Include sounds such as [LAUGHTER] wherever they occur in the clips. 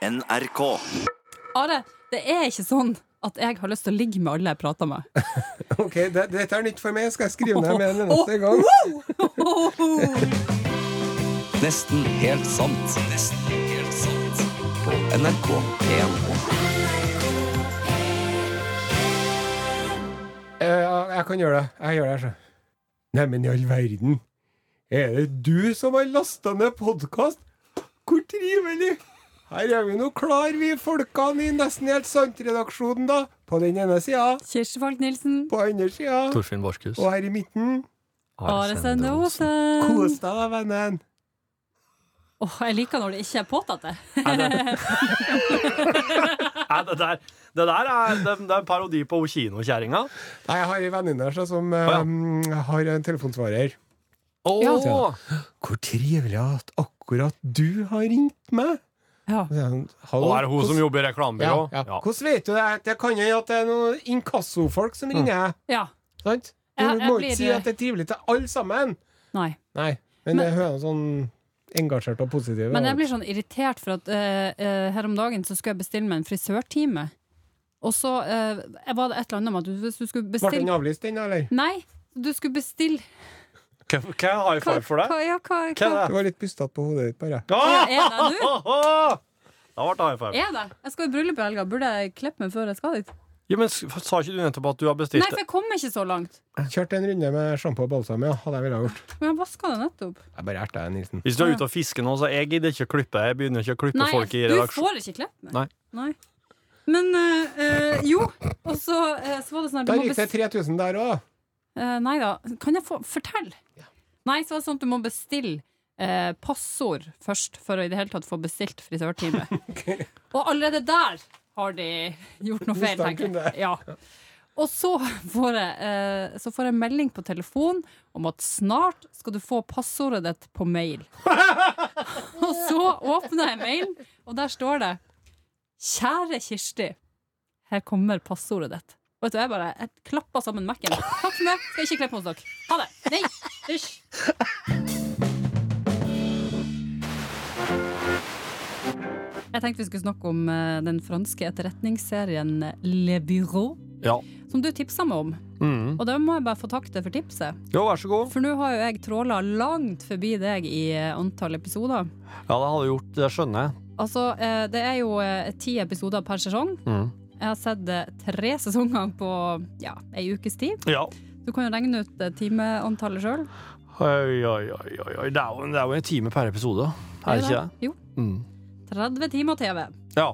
NRK. Are, det er ikke sånn at jeg har lyst til å ligge med alle jeg prater med. Ok, det, Dette er nytt for meg. Skal jeg skrive ned med en Åh, eneste gang? wow! Nesten helt sant. Nesten helt sant. På NRK1. Eh, Ja, jeg kan gjøre det. Jeg gjør det, jeg, så. Neimen, i all verden. Er det du som har lasta ned podkast? Hvor trivelig! Her er vi nå klar, vi folkene i Nesten helt sant-redaksjonen, da. På den ene sida. Kirsti Falk Nilsen, På andre sida. Torfinn Borchhus. Og her i midten. Are Sende Osen. Kos deg, da, vennen. Åh, jeg liker når det ikke er påtatt, det. Nei, [LAUGHS] det, Nei, det der, det der er, det, det er en parodi på kinokjerringa. Nei, jeg har ei venninne her så, som eh, ja. mm, har en telefonsvarer. Oh, Ja. Hvor trivelig at akkurat du har ringt meg! Ja. Og så er han, Og «Hallo, er det hun som hvordan- jobber i reklamebyrå? Ja, ja. Hvordan vet du det? Det kan jo at det er noen inkassofolk som ringer. ja. Sant? Du Ja, jeg må blir- eh, ikke si at det er trivelig til alle sammen. Nei. Nei, men, det hører sånn engasjert og positiv Men jeg blir sånn irritert, for at eh, eh, her om dagen så skulle jeg bestille meg en frisørtime. Og så eh, jeg var det et eller annet med at du, hvis du skulle Ble den bestille avlyst, den, eller? Nei, du skulle bestille Hva hva er high five for deg? Hva, ja, hva, Hva hva? Det var litt bustete på hodet ditt, bare. Ja, Ah! er det du? Da ble det high five. Er det? Jeg skal i bryllup i helga. Burde jeg klippe meg før jeg skal dit? Ja, men s- Sa ikke du nettopp at du har Nei, bestilt for jeg kommer ikke så langt. Kjørte en runde med sjampo og balsam, ja. Hadde jeg villet ha gjort. Men jeg vaska det nettopp. Jeg bare erta deg, Nilsen. Hvis du er ute og fisker nå, så jeg gidder ikke å klippe. Jeg begynner ikke å klippe Nei, folk i du redaksjonen. får ikke klippe meg. Nei. Men eh, eh, jo, og så, eh, så var det sånn at du Der må gikk det 3000 der òg. Eh, nei da. Kan jeg få Fortell! Nei, så er det sånn at du må bestille eh, passord først for å i det hele tatt få bestilt frisørtime. Og allerede der har de gjort noe feil, Mistanken tenker der. jeg. Ja. Og så får, jeg, eh, så får jeg melding på telefon om at snart skal du få passordet ditt på [LAUGHS] mail. og så åpner jeg mailen, og der står det Kjære Kirsti, her kommer passordet ditt. Og vet du, jeg bare jeg klappa sammen Mac-en. Takk for meg, skal ikke klippe hos dere. Ha det. Nei, hysj. Jeg tenkte vi skulle snakke om eh, den franske etterretningsserien Le Bureau, Ja. som du tipsa meg om. Mm. Og da må jeg bare få takke deg for tipset. Jo, vær så god. For nå har jo jeg tråla langt forbi deg i eh, antall episoder. Ja, det hadde gjort. Det skjønner jeg. Altså, eh, det er jo eh, ti episoder per sesong. Mm. Jeg har sett eh, tre sesonger på ja, ei ukes tid. Ja. Du kan jo regne ut eh, timeantallet sjøl. Oi, oi, oi, oi, oi. Det er jo, det er jo en time per episode, er det ikke det? Jo. Mm. 30 timer TV. Ja.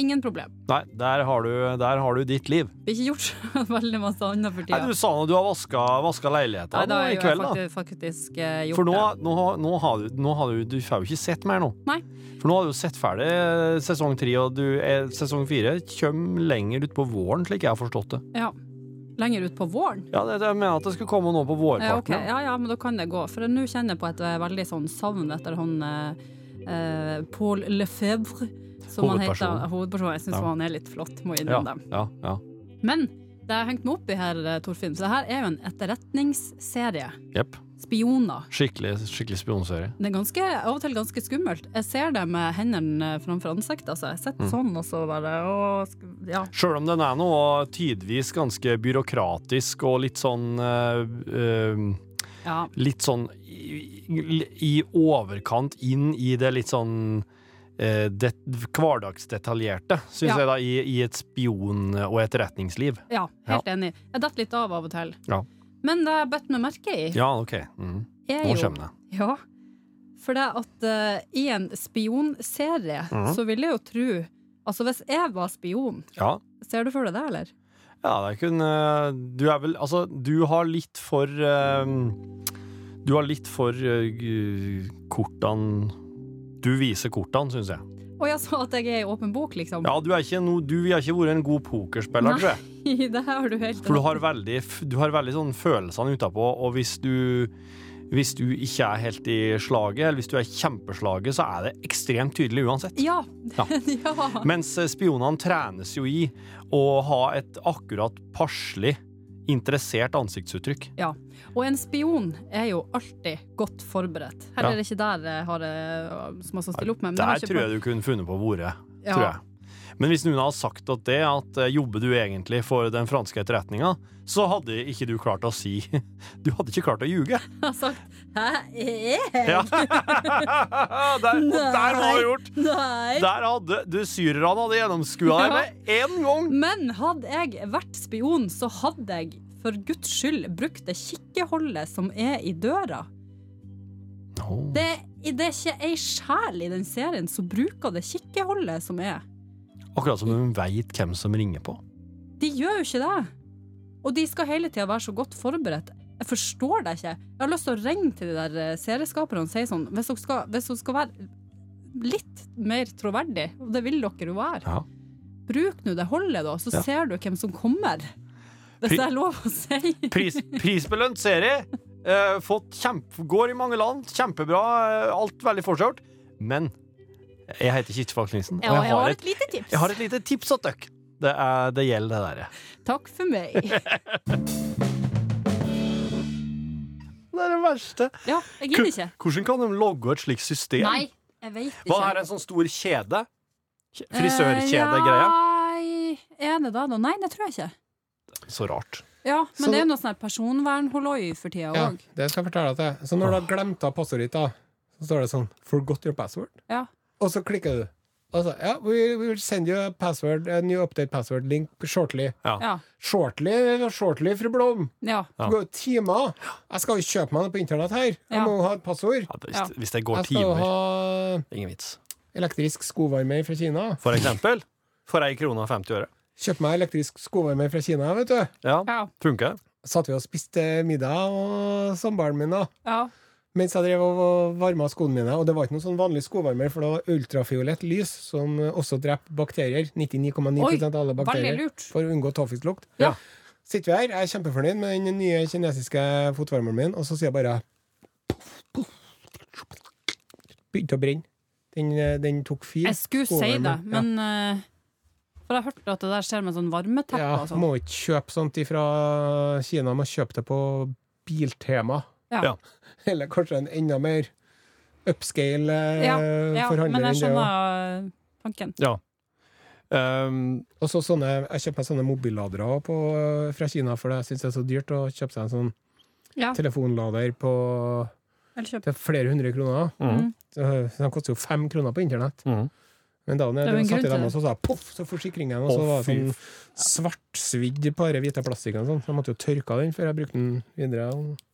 Ingen problem. Nei, der har du, der har du ditt liv. Blir ikke gjort så [LAUGHS] veldig masse annet for tida. Nei, du sa nå du har vaska, vaska Nei, leilighetene da har i jo jeg kveld, da. faktisk, faktisk eh, gjort For nå, det. nå, nå har du, nå har du, du får jo ikke sett mer nå. Nei. For nå har du jo sett ferdig eh, sesong tre, og du, eh, sesong fire kommer lenger utpå våren, slik jeg har forstått det. Ja. Lenger ut på våren? Ja, det, jeg mener at det skulle komme nå Ja, på ok. vårparten. ja. ja, ja, men da kan det gå. For nå kjenner jeg på et eh, veldig sånn savn etter han eh, eh, Paul Lefebvre, som han heter. Hovedpersonen. Hovedpersonen. Jeg syns Ja. han er litt flott, må jeg Ja, innrømme det. ja, ja. Men det jeg har hengt meg opp i her, eh, Torfinn, så det her er jo en etterretningsserie. Jepp. Spioner. Skikkelig, skikkelig spionserie. Det er ganske, av og til ganske skummelt. Jeg ser det med hendene framfor ansiktet. Altså. Jeg Mm. sitter sånn, og så bare å, sk- ja. Sjøl om den er noe tidvis ganske byråkratisk og litt sånn eh, eh, ja. Litt sånn i, i overkant inn i det litt sånn eh, det, hverdagsdetaljerte, syns Ja. jeg, da, i, i et spion- og etterretningsliv. Ja, helt enig. Jeg detter litt av av og til. Ja. Men det jeg har bedt meg merke i, Ja, OK. Mm. er Nå jo kommer det. ja, For det at eh, i en spionserie, Mhm. så ville jeg jo tro Altså, hvis jeg var spion, Ja. ser du for deg det, eller? ja, det er kun eh, Du er vel Altså, du har litt for eh, Du har litt for eh, g- kortene Du viser kortene, syns jeg. Å ja, så at jeg er i åpen bok, liksom? Ja, du er ikke no, du har ikke vært en god pokerspiller, Nei. tror jeg. [LAUGHS] det har du helt For du har veldig, f- du har veldig sånn følelsene utapå, og hvis du hvis du ikke er helt i slaget, eller hvis du er i kjempeslaget, så er det ekstremt tydelig uansett. Ja. Ja. [LAUGHS] ja. Mens eh, spionene trenes jo i å ha et akkurat passelig Interessert ansiktsuttrykk. Ja. Og en spion er jo alltid godt forberedt. Her Ja. er det ikke der jeg har eh, som jeg skal stille opp med. men Der har ikke tror jeg du kunne funnet på ordet. Ja. Tror jeg. Men hvis noen hadde sagt at det, at eh, jobber du egentlig for den franske etterretninga, så hadde ikke du klart å si [LAUGHS] Du hadde ikke klart [LAUGHS] å ljuge. prøvd- har sagt Hæ? Eh? Ja. [LAUGHS] der, og der var det gjort! Nei. Der hadde du Syrerne hadde gjennomskua deg med én gang! Men hadde jeg vært spion, så hadde jeg for guds skyld brukt det kikkeholdet som er i døra. Det, det er ikke ei sjel i den serien som bruker det kikkeholdet som er. Akkurat som hun veit hvem som ringer på. De gjør jo ikke det. Og de skal hele tida være så godt forberedt. Jeg forstår det ikke. Jeg har lyst til å ringe til de der eh, serieskaperne og si sånn Hvis dere skal, hvis dere skal være litt mer troverdig, og det vil dere jo være, Ja. bruk nå det holdet, da, så Ja. ser du hvem som kommer. Hvis Pri- det er lov å si. Pris, prisbelønt serie. Eh, fått kjempe, går i mange land. Kjempebra. eh, Alt veldig forskjørt. Men jeg heter Kirstefag Knutsen, [LAUGHS] Ja, og jeg har et, lite tips. jeg har et lite tips til dere. Det, er, det gjelder det derre. Takk for meg. Det er det verste. Ja, jeg gidder ikke. Hvordan kan de logge et slikt system? Nei, jeg vet ikke. Hva er en sånn stor kjede? Kje- Eh, Frisørkjedegreie? Nei, er det da da? Nei, det tror jeg ikke. Så rart. Ja, men Så- det er jo noe sånn her personvernholloi for tida Ja, òg. det skal jeg fortelle deg. til. Så når du har glemt av passordet ditt, da, så står det sånn 'Forgot your password', Ja. og så klikker du. Og så, ja, we, we will send you a password, a new update password link shortly. Ja. Shortly, shortly, fru Blom. ja. Ja. Det går jo timer. Jeg skal jo kjøpe meg noe på internett her. Jeg Ja. må jo ha et passord. Ja, hvis, Ja. Altså, hvis det går Jeg skal jo timer. ha Ingen vits. elektrisk skovarmer fra Kina. For eksempel. For ei krone og 50 øre. Kjøpte meg elektrisk skovarmer fra Kina, vet du. Ja, ja. funker. Satt vi og spiste middag, og samboeren min, da. ja. Mens jeg drev og varma skoene mine. Og det var ikke noen sånn vanlig skovarmer, for det var ultrafiolett lys, som også dreper bakterier. 99,9 Oi, av alle veldig bakterier. lurt. For å unngå tåfislukt. Ja. Sitter vi her, jeg er kjempefornøyd med den nye kinesiske fotvarmeren min, og så sier jeg bare Begynte å brenne. Den, den tok fyr. Jeg skulle si skovarmeren. det, men eh, For jeg har hørt at det der skjer med sånn varmeteppe ja, og ja, sånn. Må ikke kjøpe sånt ifra Kina, må kjøpe det på Biltema. Ja. Ja. Eller kanskje en enda mer upscale eh, Ja, ja, men forhandler jeg enn det. også. skjønner tanken. Um, Og så sånne, jeg kjøper meg sånne mobilladere også på, fra Kina, for jeg syns det er så dyrt å kjøpe seg en sånn Ja. telefonlader på Eller kjøp. til flere hundre kroner. Mm. Så, så de koster jo fem kroner på internett. Mm. Men da når Det er jo jeg en satt i grunn dem, til og så sa jeg poff, så forsikringen, og Å, så var det fy sånn svartsvidd på den hvite plastikken, og sånn. så jeg måtte jo tørke av den før jeg brukte den videre. og-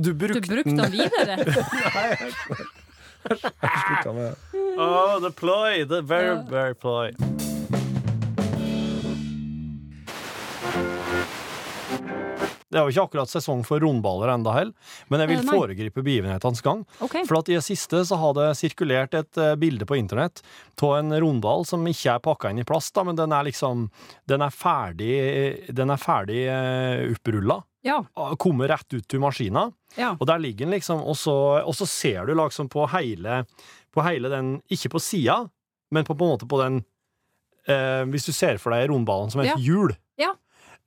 Du Du brukte brukte den [LAUGHS] videre? Jeg slutta med det. Oh, the ploy! The very, very ploy. Det er jo ikke akkurat sesong for rundballer enda heller, men jeg vil Eh, nei. foregripe begivenhetenes gang. OK. For at i det siste så har det sirkulert et eh, bilde på internett av en rundball som ikke er pakka inn i plast, da, men den er liksom Den er ferdig, den er ferdig eh, opprulla. Ja. Kommet Ah, rett ut til maskina. ja. Og der ligger den liksom, og så, og så ser du liksom på hele, på hele den, ikke på sida, men på, på en måte på den, eh, hvis du ser for deg rundballen som Ja. et hjul, Ja.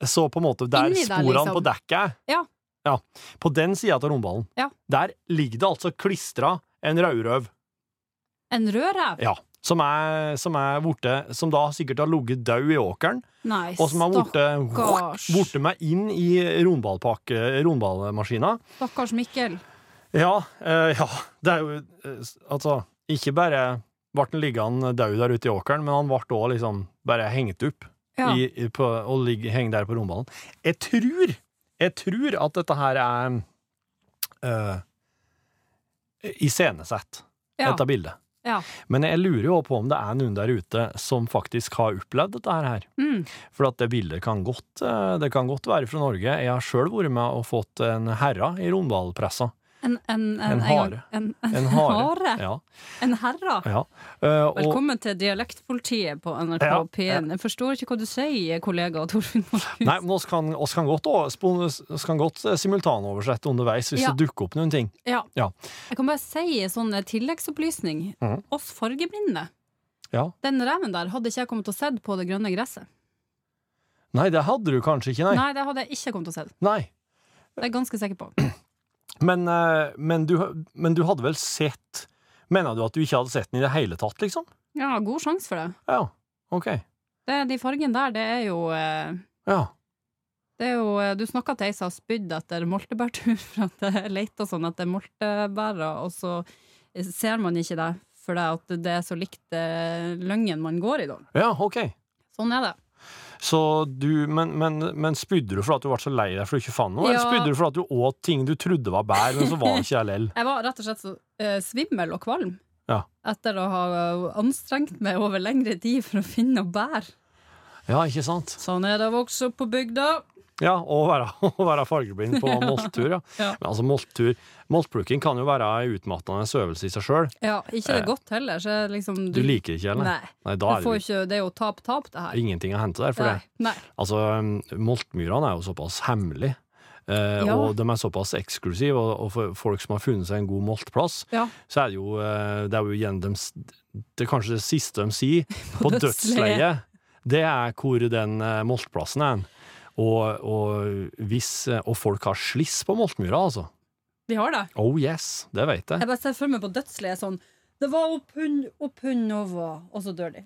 så på en måte der Inni der, sporene liksom. på dekket er. Ja. Ja, på den sida av rundballen, Ja. der ligger det altså klistra en rødrøv, En rødrev? ja, som er, som er borte, som da sikkert har ligget død i åkeren, Nei, og som har borte, stakkars. borte meg inn i rundballpakke, rundballmaskina, Stakkars Mikkel. Ja, eh, ja. Det er jo eh, s- Altså, ikke bare ble han liggende død der ute i åkeren, men han ble òg liksom bare hengt opp Ja. i, i- på, og ligge, henge der på romballen. Jeg tror, jeg tror at dette her er uh, iscenesatt, Ja. dette bildet. ja. Men jeg lurer jo på om det er noen der ute som faktisk har opplevd dette her. Mm. For at det bildet kan godt, eh, det kan godt være fra Norge. Jeg har sjøl vært med og fått en herre i rundballpressa. En, en, en, En gang. hare. En, en, En hare. hare. Ja. En herre. Ja. eh, og, Velkommen til dialektpolitiet på NRK Ja, P1. Jeg forstår ikke hva du sier, kollega Torfinn Markus. nei, men oss kan, oss kan godt, å- spon- oss kan godt eh, simultanoversette underveis hvis Ja. det dukker opp noen ting. Ja. Ja. Jeg kan bare si en sånn tilleggsopplysning. Mhm. Oss fargeblinde. Ja. Den reven der hadde ikke jeg kommet til å sett på det grønne gresset. Nei, det hadde du kanskje ikke, nei. Nei, det hadde jeg ikke kommet til å se. Nei. Det er jeg ganske sikker på. Men, eh, men, du, men du hadde vel sett Mener du at du ikke hadde sett den i det hele tatt, liksom? Ja, god sjanse for det. Ja. OK. det. De fargene der, det er jo eh, Ja. Det er jo, eh, du snakka til ei som har spydd etter moltebærtur, [LAUGHS] for at jeg leita sånn etter moltebærer, og så eh, ser man ikke det fordi at det er så likt eh, løgnen man går i, da. Ja, OK. Sånn er det. Så du, men, men, men spydde du fordi at du ble så lei deg for du ikke fant noe? Eller Ja. spydde du fordi at du åt ting du trodde var bær, men så var det ikke det lell? Jeg var rett og slett så eh, svimmel og kvalm Ja. etter å ha eh, anstrengt meg over lengre tid for å finne noe bær. Ja, ikke sant? Sånn er det å vokse opp på bygda. Ja, og være, [LAUGHS] og være fargeblind på molttur, ja. Ja. Men altså, molttur Moltplukking kan jo være ei utmattende øvelse i seg sjøl. Ja, ikke det godt heller, så jeg liksom Eh. Du liker det ikke, eller? Nei. Nei, Du da er det får jo ikke, det er jo tap-tap, det her. ingenting å hente der. For det, Nei. altså, um, moltmyrene er jo såpass hemmelige. eh, Ja. Og de er såpass eksklusive, og, og for folk som har funnet seg en god moltplass, Nei. Ja. så er det jo eh, Det er jo igjen dem, s- Det er kanskje det siste de [LAUGHS] sier på dødsleiet. Det er hvor den eh, moltplassen er. Og, og, hvis, eh, og folk har sliss på moltmyra, altså. De har det. Oh yes, det vet jeg. Jeg bare ser for meg på dødsleiet sånn Det var opp hund, opp hund over Og så dør de.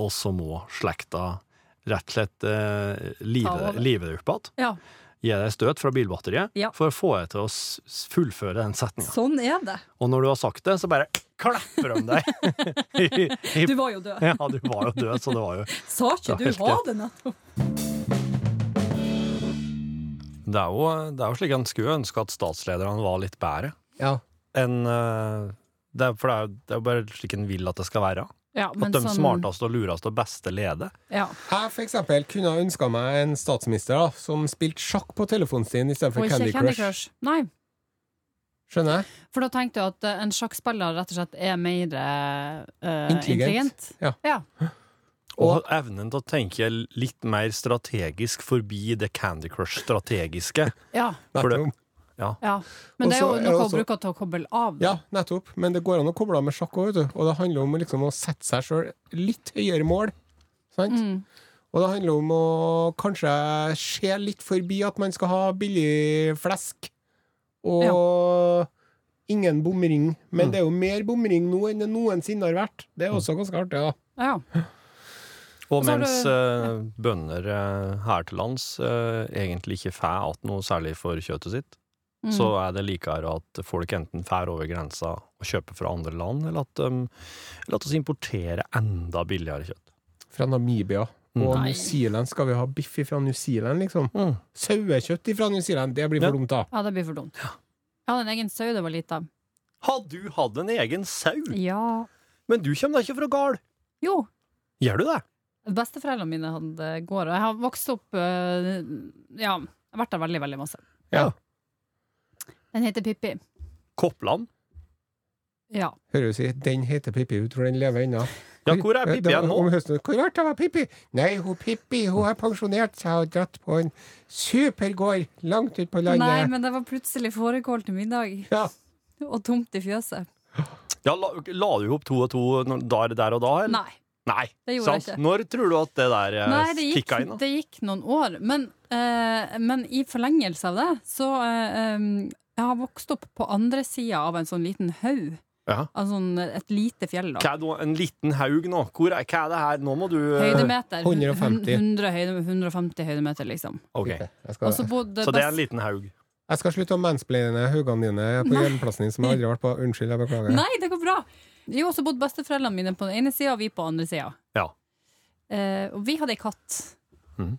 Og så må slekta rett og slett eh, Ta live over. live det opp igjen. Ja. Gi deg støt fra bilbatteriet Ja. for å få deg til å s- s- fullføre den setninga. Sånn er det. Og når du har sagt det, så bare klapper de [LAUGHS] deg. I, i, Du var jo død. [LAUGHS] ja, du var jo død, så det var jo Sa ikke Det er du helt ha det nettopp? Det er jo, det er jo slik en skulle ønske at statslederne var litt bedre Ja. enn eh, det er, For det er jo- det er jo bare slik en vil at det skal være. Ja, sånn- At de smarteste og lureste og beste leder. Ja. Jeg for eksempel kunne ha ønska meg en statsminister da, som spilte sjakk på telefonen sin Og istedenfor ikke Candy, Candy Crush. Crush. Nei. Skjønner jeg? For da tenkte jeg at eh, en sjakkspiller rett og slett er mer eh, Intelligent. intelligent. Og evnen til å tenke litt mer strategisk forbi det Candy Crush-strategiske. Ja, For det- Nettopp. ja. Men det er jo Og så er det noe å også- bruke til å koble av. Ja, nettopp. Men det går an å koble av med sjakk òg, vet du. Og det handler om liksom, å sette seg sjøl litt høyere mål. Sant? Mm. Og det handler om å kanskje se litt forbi at man skal ha billig flesk. Og ingen bomring. Men Mm. det er jo mer bomring nå enn det noensinne har vært. Det er også ganske artig, da. Ja. [LAUGHS] Og Og så har mens du- eh, bønder eh, her til lands eh, egentlig ikke får att noe særlig for kjøttet sitt, Mm. så er det likere at folk enten fær over grensa og kjøper fra andre land, eller at de eller at oss importerer enda billigere kjøtt. Fra Namibia. Mm. Og Nei. New Zealand skal vi ha biff fra New Zealand, liksom. Sauekjøtt fra New Zealand, det blir Ja. for dumt, da. ja, det blir for dumt. Jeg hadde en egen sau da jeg var lita. Hadde du hatt en egen sau? Ja. Men du kommer da ikke fra gard? Jo, Gjør du det? Besteforeldrene mine hadde gård, og jeg har vokst opp eh, Ja, jeg har vært der veldig, veldig masse. Ja. Den heter Pippi. Koppland? Ja. Hører du si 'den heter Pippi', hun tror den lever ennå. Ja, hvor er Pippi Da- igjen nå? Om høsten. Hvor ble det av Pippi? Nei, hun Pippi hun er pensjonert seg og dratt på en supergård langt ut på landet. Nei, men det var plutselig fårikål til middag, Ja. og tomt i fjøset. Ja, la, la du opp to og to når- der, der og da, eller? Nei. Nei, Det gjorde sant? jeg ikke. Når tror du at det der eh, Nei, det gikk, kicka inn? da? det gikk noen år. Men, eh, men i forlengelse av det, så eh, em, Jeg har vokst opp på andre sida av en sånn liten haug. Ja. Av sånn et lite fjell, da. Hva er det, en liten haug nå? Hvor er, hva er det her? Nå må du eh, Høydemeter. 150. 100, høyde, 150 høydemeter, liksom. Ok, Jeg, Og skal, så bodde Så det best- er en liten haug. jeg skal slutte å mansplaine haugene dine på Nei. hjemmeplassen din, som jeg aldri har vært på. Unnskyld, jeg beklager. [LAUGHS] Nei, det går bra. Jo, så bodde besteforeldrene mine på den ene sida, og vi på den andre sida. Ja. Eh, og vi hadde ei katt. Mhm.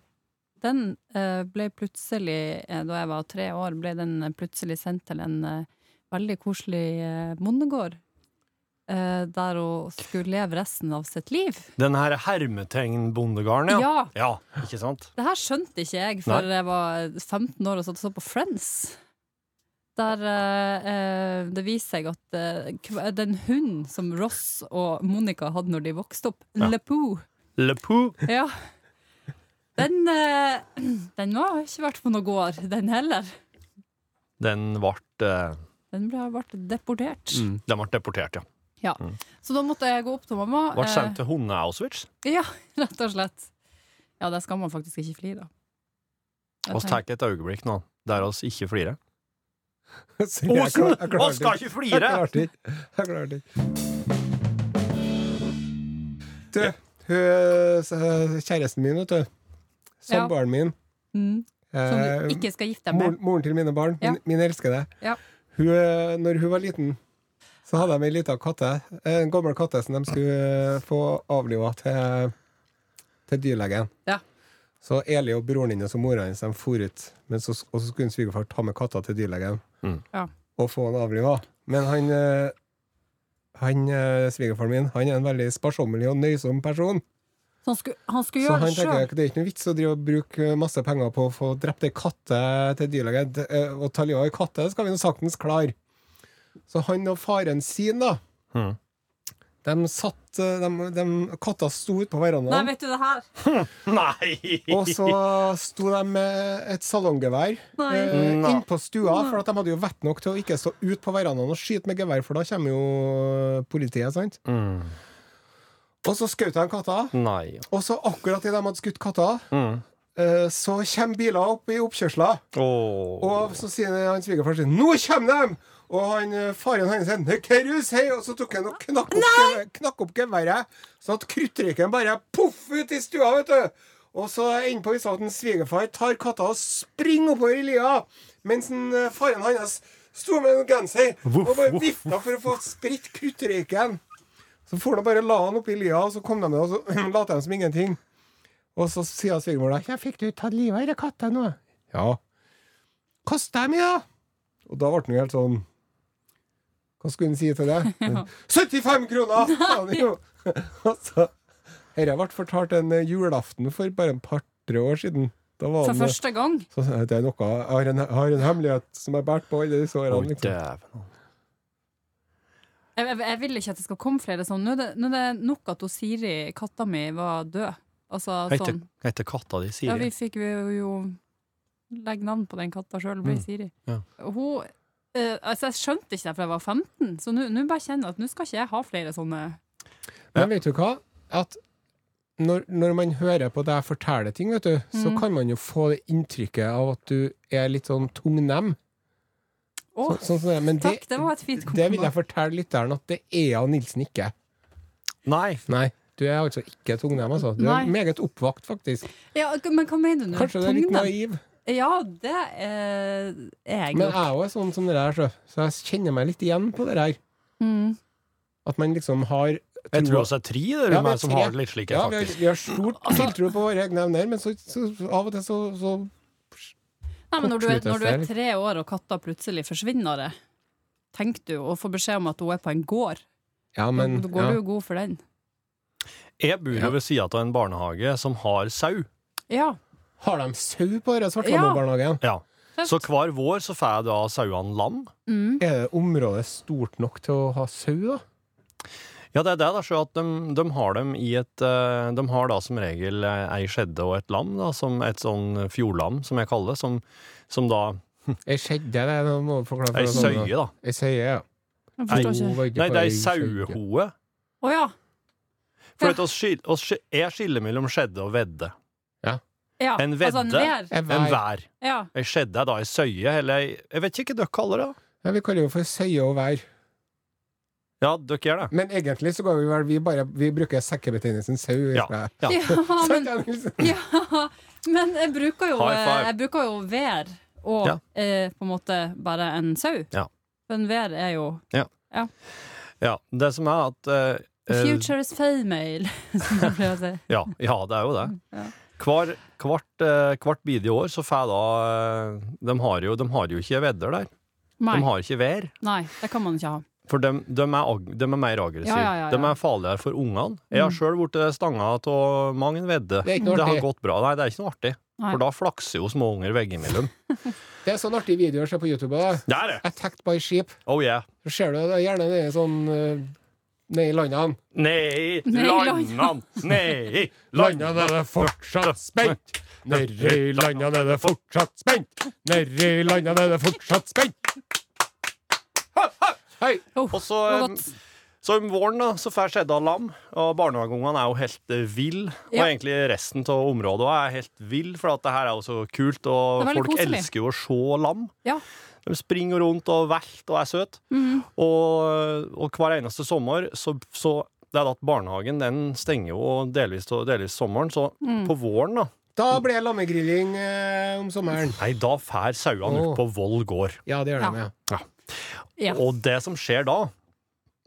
Den eh, ble plutselig, eh, da jeg var tre år, ble den eh, plutselig sendt til en eh, veldig koselig eh, bondegård. eh, der hun skulle leve resten av sitt liv. Den her hermetegnbondegarden, ja. Ja! ja. Ikke sant? Det her skjønte ikke jeg før jeg var 15 år og satt og så på Friends. Der eh, eh, det viser seg at eh, kv- den hunden som Ross og Monica hadde når de vokste opp, Ja. Le Poo, Le Pou. ja. den, eh, den har ikke vært på noen gård, den heller. Den ble, eh, Den ble, ble deportert. den ble deportert, ja. Så da måtte jeg gå opp til mamma. Ble eh, [LAUGHS] sendt til Hunde-Auschwitz. Ja, rett og slett. Ja, der skal man faktisk ikke flire. Jeg Oss tar et øyeblikk nå, der oss ikke flirer. Sorry, jeg klar- jeg klarte ikke. ikke [LAUGHS] Jeg klarte ikke. Jeg klarte ikke. Du, hun, s- kjæresten min, vet du. Ja. Samboeren min. tenker- Mm, som eh, du ikke skal gifte deg moren, med. moren til mine barn. Min, Ja. min elsker deg. Ja. Hun, eh, når hun var liten, så hadde de ei lita katte. En gammel katte som de skulle eh, få avliva til, til dyrlegen. Ja. Så Eli og broren hennes og mora hennes de for ut. Men så, og så skulle svigerfar ta med katta til dyrlegen Mm. Ja. og få den avliva. Men han, eh, han eh, svigerfaren min han er en veldig sparsommelig og nøysom person. Så han skulle, han skulle Så gjøre han det tenker sjøl. at det er ikke noe vits å drive og bruke masse penger på å få drept ei katte til dyrlege. D- eh, Og ta livet av ei katte skal vi nå saktens klare. Så han og faren sin, da Mhm. De satt eh, de, de, Katta sto ute på Nei, verandaen, vet du det her? Nei! og så sto de med et salonggevær Nei. eh, Nei. innpå stua, for at de hadde jo vett nok til å ikke stå ute på verandaen og skyte med gevær, for da kommer jo eh, politiet, sant? Mm. Og så skjøt de katta, Nei. og så akkurat idet de hadde skutt katta, Mm. Eh, så kommer biler opp i oppkjørsler, Åh. og så sier han svigerfar sin 'Nå kommer de!' Og han, eh, faren hans sier 'Nei, hva er det du sier?' Og så tok han og knakk opp, geve- knakk opp geværet, sånn at kruttrykken bare poff ut i stua, vet du. Og så ender på visa at en svigerfar tar katta og springer oppover i lia, mens en, eh, faren hans sto med en genser og Voff, bare voff, vifta for å få spredt kruttrykken. Så for de bare la han oppi lia, og så kom de med, og så [CLEARS THROAT] lot de som ingenting. Og så sier svigermor da 'Ja, fikk du tatt livet av denne katta nå?' Ja. Kast dem, ja! Og da ble han jo helt sånn Hva skulle han si [LAUGHS] til det? 75 kroner! sa han jo. [LAUGHS] Og så- Dette ble fortalt en eh, julaften for bare et par-tre år siden. Da var For han, eh, første gang. så, sa jeg, det er noe, jeg har, en, jeg har en hemmelighet som jeg har båret på alle disse Å, årene. Liksom. dæven. Jeg, jeg, jeg vil ikke at det skal komme flere sånn. Nå er det, nå er det nok at hun Siri, katta mi, var død. Altså Heter, sånn. heter katta di Ja, vi Siri? fikk jo, jo legge navn på den katta sjøl, ble Mm. Siri. Ja. Hun, eh, altså jeg skjønte ikke det fra jeg var 15, så nå nå bare kjenner jeg at nå skal ikke jeg ha flere sånne Men vet du hva? At når, når man hører på deg fortelle ting, vet du, så Mm. kan man jo få det inntrykket av at du er litt sånn tungnem. Å, Så, sånn som det er. Men det, takk, det var et fint det vil jeg kompliment. fortelle lytteren at det er han Nilsen ikke. Nei. Nei, du er altså ikke tungnem, altså. Du Nei. er meget oppvakt, faktisk. Ja, men hva mener du nå? Kanskje du er litt Tungnem? naiv, Ja, det eh, er jeg men jeg nok. er jo sånn som det der, så, så jeg kjenner meg litt igjen på det der. Mm. At man liksom har Jeg tror troa- også det er tre det er Ja, vi meg er som tre. har litt slike, Ja, vi har, faktisk. vi har stort Altså- tiltro på våre egne evner, men så, så av og til så, så Nei, men når du, er, Kortsluttes når du er der. tre år og katta plutselig forsvinner, eh, tenker du, og får beskjed om at hun er på en gård, Ja, men da ja. går du jo god for den. Jeg bor jo ved sida av en barnehage som har sau. Ja. Har de sau på denne Svarthamar-barnehagen? Ja. Tøft. Så hver vår så får jeg da sauene lam. Mm. Er det området stort nok til å ha sau, da? Ja, det er det. da, så at de, de har dem i et eh, De har da som regel eh, ei skjedde og et lam, da, som et sånn fjordlam, som jeg kaller det. Som, som da Ei skjedde, det er- må du forklare Ei for søye, da. Ei søye, ja. Jeg Nei, forstår ikke. Nei, det er ei sauehoe. Å ja. For at oss skil, oss, skil- jeg skiller mellom skjedde og vedde. ja. En Altså, en vedde. vær. Jeg En vær. vær. Ja. Ei skjedde er da ei søye, eller ei Jeg vet ikke hva dere kaller det. da. Ja, vi kaller jo for søye og vær. Ja, dere gjør det. Men egentlig så går vi vel Vi, bare, vi bruker sekkebetegnelsen sau. Ja. tror jeg. Ja. Ja, Sant, [LAUGHS] men, Danielsen? ja, men jeg bruker jo eh, High five. Jeg bruker jo vær og Ja. eh, på en måte bare en sau. Ja. For en vær er jo Ja, det som er at The eh, eh, future is female, [LAUGHS] som jeg pleier å si. Ja, ja, det er jo det. Mm, Ja. Hver, hvert, eh, hvert bidige år så får jeg da eh, de har, jo, de har jo ikke vedder der. Nei, De har ikke vær. nei, det kan man ikke ha. For de, de, er, ag- de er mer aggressive. Ja, ja, ja, Mm. ja. De er farligere for ungene. Jeg har sjøl blitt stanga av mang en vedde. Det er ikke noe har artig. gått bra. Nei, det er ikke noe artig. Nei. For da flakser jo små unger veggimellom. Det er sånn artig video å se på YouTube. Da. Der, ja! Attacked by sheep. Oh yeah. Så ser du det er gjerne nede sånn eh, Nede i landene. Nei, Nei, landene! Nei, landene! er det fortsatt spent. Nede i landene er det fortsatt spent. Nede i landene er det fortsatt spent. Hei! Oh, Og så det var eh, godt. Så om våren da, så får Skjedda lam, og barnehageungene er jo helt eh, vill. Og Ja. egentlig resten av området også er helt vill, for at det her er jo så kult, Det og er veldig folk koselig. elsker jo å se lam. Ja. De springer rundt og velter og er søte. Mhm. Og, og hver eneste sommer så, så det er da at barnehagen den stenger jo delvis, delvis sommeren, så Mhm. Mm. på våren da, Da ble det lammegrilling eh, om sommeren. nei, da fær sauene Åh. ut på Voll gård. Ja, det gjør de, Ja. ja. Ja. Og det som skjer da,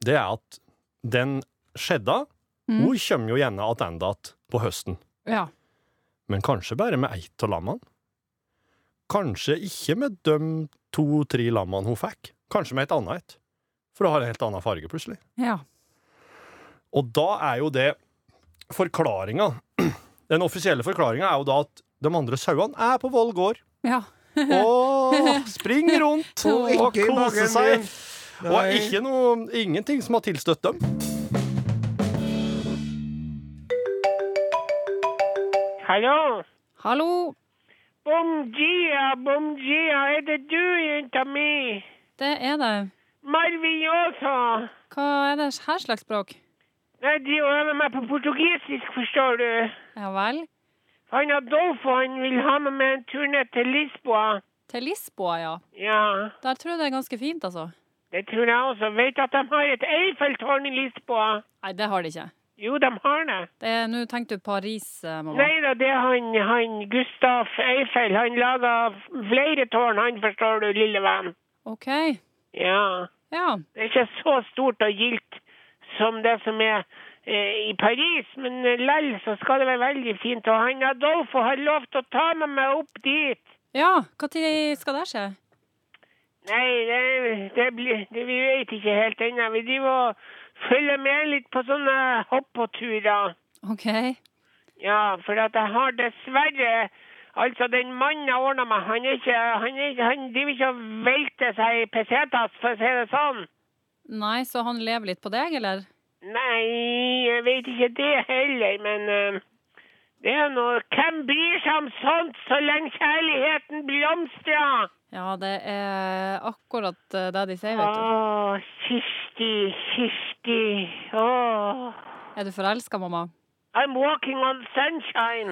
det er at den skjedda, Mhm. hun kommer jo gjerne attende att på høsten. ja. Men kanskje bare med eitt av lammene? Kanskje ikke med de to-tre lammene hun fikk. Kanskje med et annet et. For det har en helt annen farge, plutselig. ja. Og da er jo det forklaringa. [CLEARS THROAT] Den offisielle forklaringa er jo da at de andre sauene er på Voll [LAUGHS] gård ja. og springer rundt Og og ikke i koser magen seg. din. Og Nei. ikke noe, ingenting som har tilstøtt dem. Hallo? Hallo, Bom dia, bom dia. Er det du, jenta mi? det er det. Maravilhosa. Hva er det her slags språk? Nei, de øver meg på portugisisk, forstår du. Ja vel. Han Adolfo han vil ha meg med en tur ned til Lisboa. Til Lisboa, ja. Ja, Der tror jeg det er ganske fint, altså. det tror jeg også. Vet du at de har et Eiffeltårn i Lisboa? Nei, det har de ikke. Jo, de har det. Det er- Nå tenkte du Paris, eh, mamma. Nei da, det er han, han Gustav Eiffel. Han laga flere tårn, han forstår du, lille venn. OK. Ja. Ja. Det er ikke så stort og gildt som det som er eh, i Paris, men eh, lell så skal det være veldig fint. Og han Adolfo har lovt å ta med meg opp dit. Ja, når skal det skje? Nei, det, det blir det, Vi vet ikke helt ennå. Vi driver og følger med litt på sånne hopp-og-turer. OK. Ja, for at jeg har dessverre Altså, den mannen jeg ordna meg, han er ikke Han, er, ikke- han driver ikke og velter seg i pesetas, for å si det sånn. Nei, så han lever litt på deg, eller? Nei, jeg vet ikke det heller, men eh, det er noe Hvem bryr seg om sånt så lenge kjærligheten blomstrer? Ja, det er akkurat eh, det de sier, Å, vet du. Kirsti, Kirsti. Åh. Er du forelska, mamma? I'm walking on sunshine.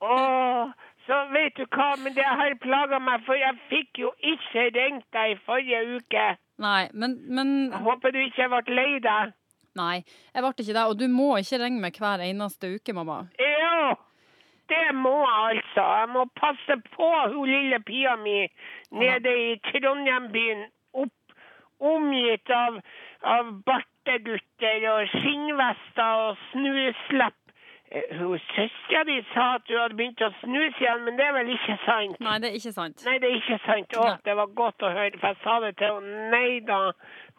Åh, så vet du hva, men det har plaga meg, for jeg fikk jo ikke ringt deg i forrige uke. Nei, men, men Jeg håper du ikke ble lei deg. Nei, jeg ble ikke det. Og du må ikke ringe meg hver eneste uke, mamma. Jo, det må jeg altså. Jeg må passe på hun lille pia mi nede i Trondheim-byen. opp- Omgitt av, av bartegutter og skinnvester og snuslepp. Eh, Hun Søstera di sa at du hadde begynt å snuse igjen, men det er vel ikke sant? Nei, det er ikke sant. Nei, det er ikke sant. Å, Nei. det var godt å høre, for jeg sa det til henne. Nei da.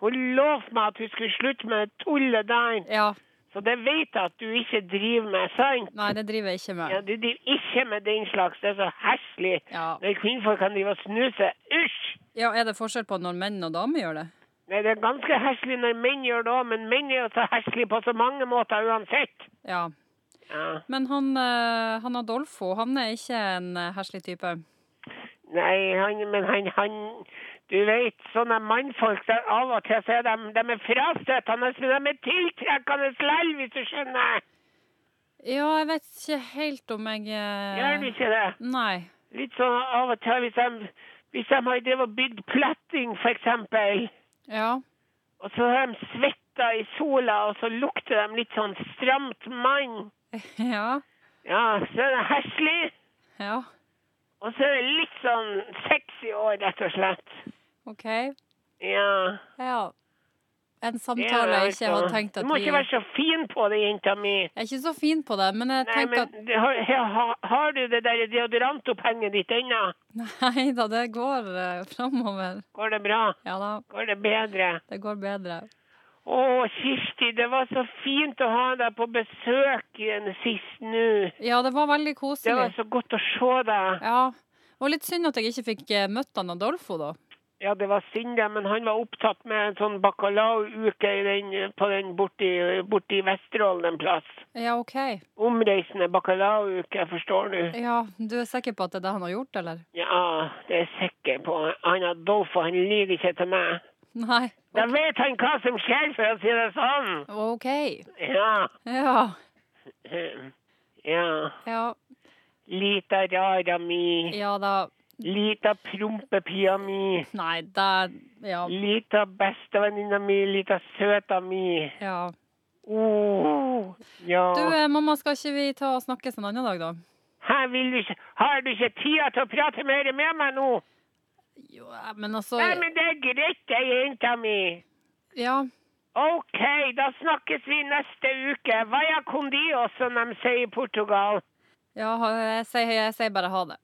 Hun lovte meg at hun skulle slutte med det tullet der. Ja, Så det vet jeg at du ikke driver med, sant? Nei, det driver jeg ikke med. Ja, du driver ikke med den slags. Det er så heslig. Ja. Når kvinnfolk kan drive og snuse. Usj! Ja, Er det forskjell på når menn og damer gjør det? Nei, det er ganske heslig når menn gjør det òg, men menn er jo så heslige på så mange måter uansett. Ja. Ja. Men han, eh, han Adolfo, han er ikke en eh, heslig type. Nei, han, men han, han Du vet, sånne mannfolk der av og til så er de, de er frastøtende, men de er tiltrekkende lell, hvis du skjønner. Ja, jeg vet ikke helt om jeg eh, Gjør du ikke det? Nei. Litt sånn av og til hvis de, hvis de har drevet og bygd platting, for eksempel. Ja. [LAUGHS] Og så har de svetta i sola, og så lukter de litt sånn stramt mann. Ja. Ja, så er det heslig, Ja. og så er det litt sånn sexy år, rett og slett. OK. Ja. Ja. En det er samtale jeg det, ikke altså. hadde tenkt at Du må vi ikke være så fin på det, jenta mi. Jeg er ikke så fin på det, men jeg Nei, tenker men at [LAUGHS] det- har, har, har du det der deodorantopphenget ditt ennå? Nei da, det går uh, framover. Går det bra? Ja da, Går det bedre? det går bedre. Å, Kirsti, det var så fint å ha deg på besøk igjen sist nå. Ja, det var veldig Det koselig. var så godt å se deg. Ja. Det var litt synd at jeg ikke fikk eh, møtt han Adolfo, da. Ja, det var synd det, men han var opptatt med en sånn bacalao-uke i den- på den borti, borti Vesterålen en plass. Ja, OK. Omreisende bacalao-uke, forstår du? Ja, Du er sikker på at det er det han har gjort, eller? Ja, det er jeg sikker på. Han Adolfo, han lyver ikke til meg. Nei. Da vet han hva som skjer, for å si det sånn. OK. Ja. Ja. ja. Ja, Lita rara mi, ja da. lita prompepia mi, Nei, det Ja. lita bestevenninna mi, lita søta mi. ja. Oh, ja. Du, eh, mamma, skal ikke vi ta og snakkes en annen dag, da? Her vil du ikke, har du ikke tida til å prate mer med meg nå? Jo, eh, men altså Nei, men det er greit, det, jenta mi. Ja. OK, da snakkes vi neste uke. Vaya condio, som de sier i Portugal. ja ha- jeg, sier, jeg sier bare ha det.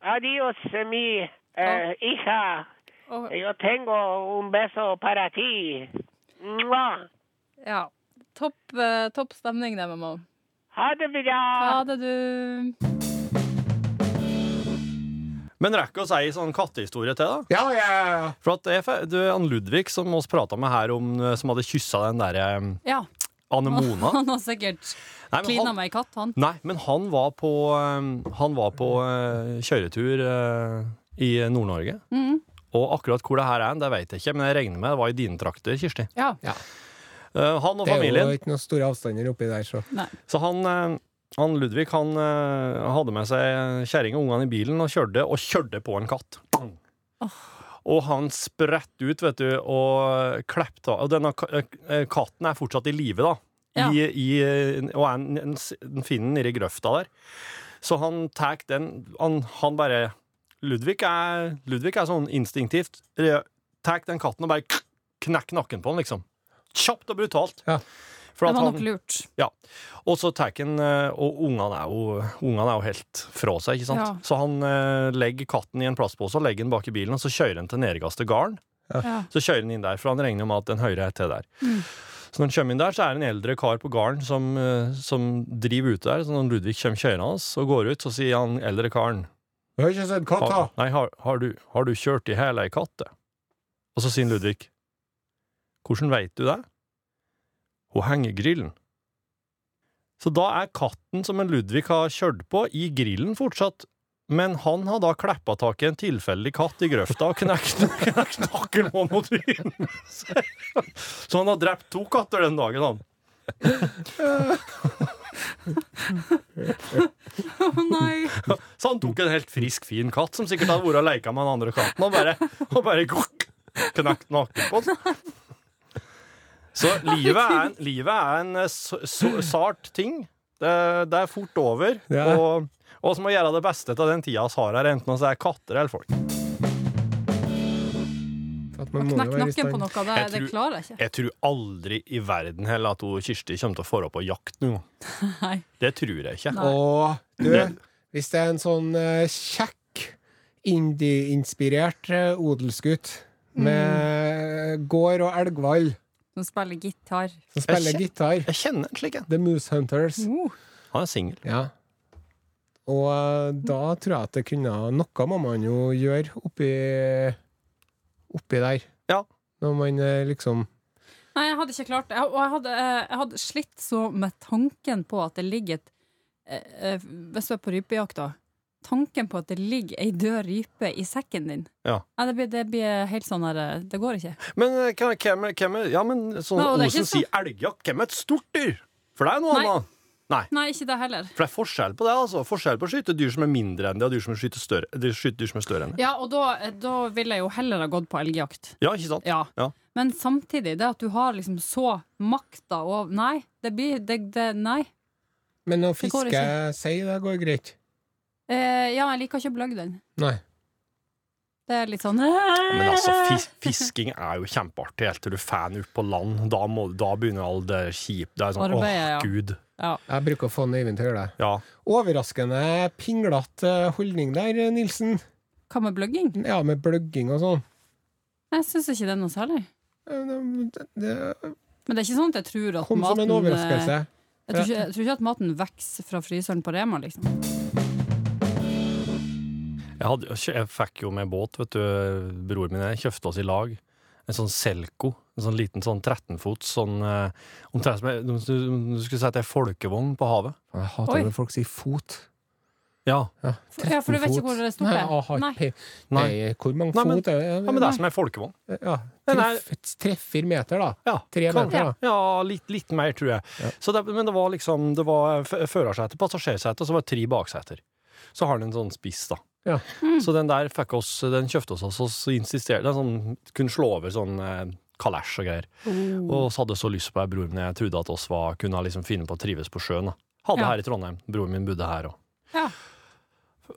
Adios mi eh, hija. Og, Yo tengo un beso para ti. Mwah. ja. Topp, eh, topp stemning, det, mamma. Ha det bra. Ha det, du. Men rekker oss ei sånn kattehistorie til, da? Ja, ja, ja. For at jeg, fe- du, han Ludvig som oss prata med her om, eh, som hadde kyssa den derre Ja. anemona Han har sikkert Nei, men klina han- med ei katt, han. Nei, men han var på, eh, han var på eh, kjøretur eh, i Nord-Norge. Og akkurat hvor det her er, det vet jeg ikke, men jeg regner med det var i dine trakter, Kirsti. Ja. Eh, Han og Det er familien. jo ikke noen store avstander oppi der, så. Så han, eh, han Ludvig han eh, hadde med seg kjerring og ungene i bilen og kjørte, og kjørte på en katt. Og han sprett ut, vet du, og klepte av. Og denne ka- eh, katten er fortsatt i live, da. Ja. I, i, og er, en- en s- den finner den nedi grøfta der. Så han tar den han, han bare Ludvig er, Ludvig er sånn instinktivt. eh, Tar den katten og bare k- knekk nakken på den, liksom. Kjapt og brutalt. Ja. For Det at var han- nok lurt. og så tar han eh, Og ungene er jo, ungene er jo helt fra seg, ikke sant? Ja. Så han eh, legger katten i en plastpose og legger den bak i bilen, og så kjører han til nedergaste garden. Ja. Så kjører han inn der, for han regner jo med at den høyre er til der. Så når han kommer inn der, så er det en eldre kar på garden som, eh, som driver ute der. Så når Ludvig kommer kjørende hans og går ut, så sier han eldre karen Du har ikke sett katt, da? har, Nei, har, har, du, har du kjørt i hele ei katt? det?» Og så sier Ludvig Hvordan veit du det? Hun henger i grillen. Så da er katten som en Ludvig har kjørt på, i grillen fortsatt. Men han har da kleppa tak i en tilfeldig katt i grøfta og knekt [LAUGHS] knekt nakken på mot trynet. [LAUGHS] Så han har drept to katter den dagen, han. [LAUGHS] Å nei! Så han tok en helt frisk, fin katt som sikkert hadde vært og leka med den andre katten, og bare, og bare gokk, knakt naken på den. Så livet er en, livet er en eh, så, så, sart ting. Det, det er fort over. Ja. Og, og så må vi gjøre det beste av den tida vi har her, enten det er katter eller folk. At man må jo Knekk være i nakken på stand. noe, det, Jeg det tror- klarer jeg ikke. Jeg tror aldri i verden heller at hun Kirsti kommer til å få opp på jakt nå. [LAUGHS] Nei. Det tror jeg ikke. Nei. Og du, Det- hvis det er en sånn eh, kjekk, indie-inspirert eh, odelsgutt Mm. med eh, gård og elgvall Som spiller gitar. som spiller kje- gitar, Jeg kjenner en slik en. The Moose Hunters Uh, Han er singel. Ja. Og eh, da tror jeg at det kunne Noe må man jo gjøre oppi, oppi der. Ja. Når man eh, liksom Nei, jeg hadde ikke klart det. Jeg- Og jeg hadde, eh, jeg hadde slitt så med tanken på at det ligger et eh, eh, Hvis du er på rypejakt, da. Tanken på at det ligger ei død rype i sekken din. Ja. det, blir, det blir helt sånn her eh, Det går ikke. Men eh, hvem hvem er, hvem er Ja, men sånn Nei, og det er Osen ikke så- sier elgjakt, hvem er et stort dyr? For det er noe Nei. annet. Nei, ikke det heller. For det er forskjell på det, altså. Forskjell på å skyte dyr som er mindre enn det, og dyr som er skyte større, de skyter dyr som er større enn det. Ja, og da, eh, da ville jeg jo heller ha gått på elgjakt. Ja, ikke sant? Ja. Ja. Men samtidig, det at du har liksom så makta over Nei, det blir det, det, Nei. Men å Det går fiske sei, det går greit. Eh, ja, jeg liker ikke å bløgge den. Nei. Det er litt sånn Men altså, fis fisking er jo kjempeartig helt til du får den ut på land. Da, må, da begynner all det kjip Det er sånn, åh, Arbeidet, ja. gud. Jeg bruker å få en Øyvind til å gjøre det. Ja. Overraskende pinglete holdning der, Nilsen. Hva med bløgging? Ja, med bløgging og sånn. Jeg syns ikke det er noe særlig. Det, det Men det er ikke sånn at jeg tror at kom som maten en eh, overraskelse. Jeg tror ikke, jeg tror ikke at maten vokser fra fryseren på Rema, liksom. Jeg, hadde, jeg fikk jo med båt, vet du, broren min og jeg kjøpte oss i lag. En sånn Selco. En sånn liten sånn 13-fots sånn eh, Omtrent som jeg- om du om du skulle si at det er folkevogn på havet. Jeg Oi. hater når folk sier fot. Ja. Ja, for du vet ikke 13 hvor fot. det er stort Nei, det. jeg har Nei. pe- Nei. Nei, hvor mange Nei, men- fot er det? ja, men det er som en folkevogn. Ja, Den treff, treffer meter, da. Ja, Tre kan- meter, da. Ja, litt, litt mer, tror jeg. Så det, men det var liksom Det var f- førersete, passasjersete, og så var det tre bakseter. Så har den en sånn spiss, da. Ja. Så den der fikk oss Den kjøpte oss også, så insisterte den sånn, kunne slå over sånn eh, kalesj og greier. Og så hadde jeg så lyst på ei bror min. Jeg trodde at oss var, kunne liksom finne på å trives på sjøen. Da. Hadde Ja. her i Trondheim. Broren min bodde her òg. Ja.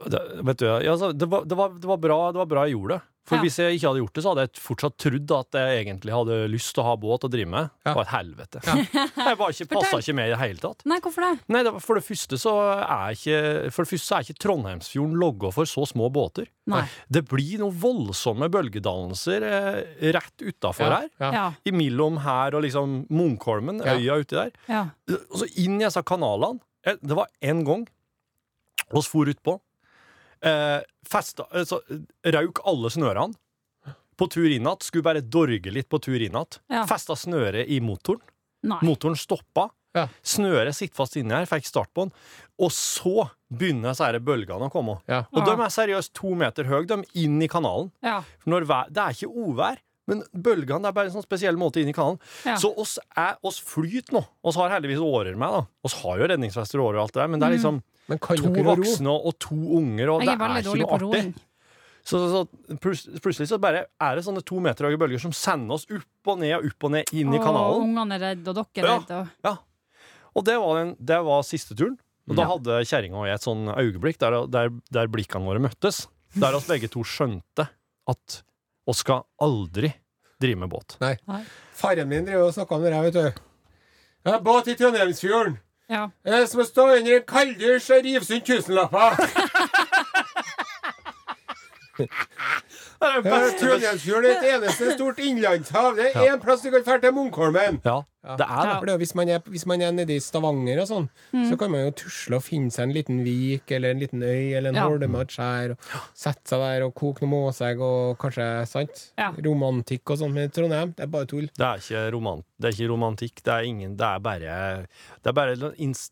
Det, vet du, ja, altså, det, var, det, var, det, var bra, det var bra jeg gjorde det. For Ja. hvis jeg ikke hadde gjort det, så hadde jeg fortsatt trodd at jeg egentlig hadde lyst til å ha båt og drive med. Det var et helvete. [LAUGHS] Jeg var ikke, passa Fortell. ikke med i det hele tatt. Nei, hvorfor det? Nei, det var, for, det første så er ikke, for det første så er ikke Trondheimsfjorden logga for så små båter. Nei. Det blir noen voldsomme bølgedannelser eh, rett utafor Ja, her. ja. Ja. Imellom her og liksom Munkholmen, Ja. øya uti der. ja. Og så inn i disse kanalene. Eh, Det var én gang oss for utpå. Eh, festa eh, så, Rauk alle snørene. På tur inn igjen. Skulle bare dorge litt på tur inn igjen. Ja. Festa snøret i motoren. Nei. Motoren stoppa. Ja. Snøret sitter fast inni her. Fikk start på den. Og så begynner disse her bølgene å komme. Ja. Og de er seriøst to meter høye, de, inn i kanalen. Ja. For Når vær, det er ikke ovær, men bølgene det er bare en sånn spesiell måte inn i kanalen. Ja. Så oss, er, oss flyter nå. Oss har heldigvis årer med, da. Oss har jo redningsvester og årer og alt det der, men det er liksom Men kan to dere ro? voksne og, og to unger, og Mm. Jeg det er veldig er ikke dårlig på noe artig. roing. Så, så, så plus- plutselig så bare er det sånne to meter høye bølger som sender oss opp og ned og opp og ned inn i Og kanalen. ungene er redde, og dere er Ja. redde. Og... Ja. Og det var, den, det var siste turen. Og da hadde kjerringa og jeg et sånn øyeblikk der, der, der blikkene våre møttes. Der oss begge to skjønte at oss skal aldri drive med båt. Faren min drev og snakka om det her, vet du. Jeg har båt i Trondheimsfjorden. Ja. Det er som å stå under en kalddusj og rive sund tusenlapper. Det er det Eh, beste Trondheimsfjorden er et eneste stort innlandshav. Det er én plass du kan dra til Munkholmen. Ja, det er det. For det er jo hvis, man er, hvis man er nede i Stavanger og sånn, Mm. så kan man jo tusle og finne seg en liten vik eller en liten øy eller en Ja. holme og et skjær, og sette seg der og koke noe måsegg og kanskje sant? Ja. romantikk og sånn. Men i Trondheim, det er bare tull. Det er ikke, roman, det er ikke romantikk. Det er, ingen, det er bare, det er bare noen ins,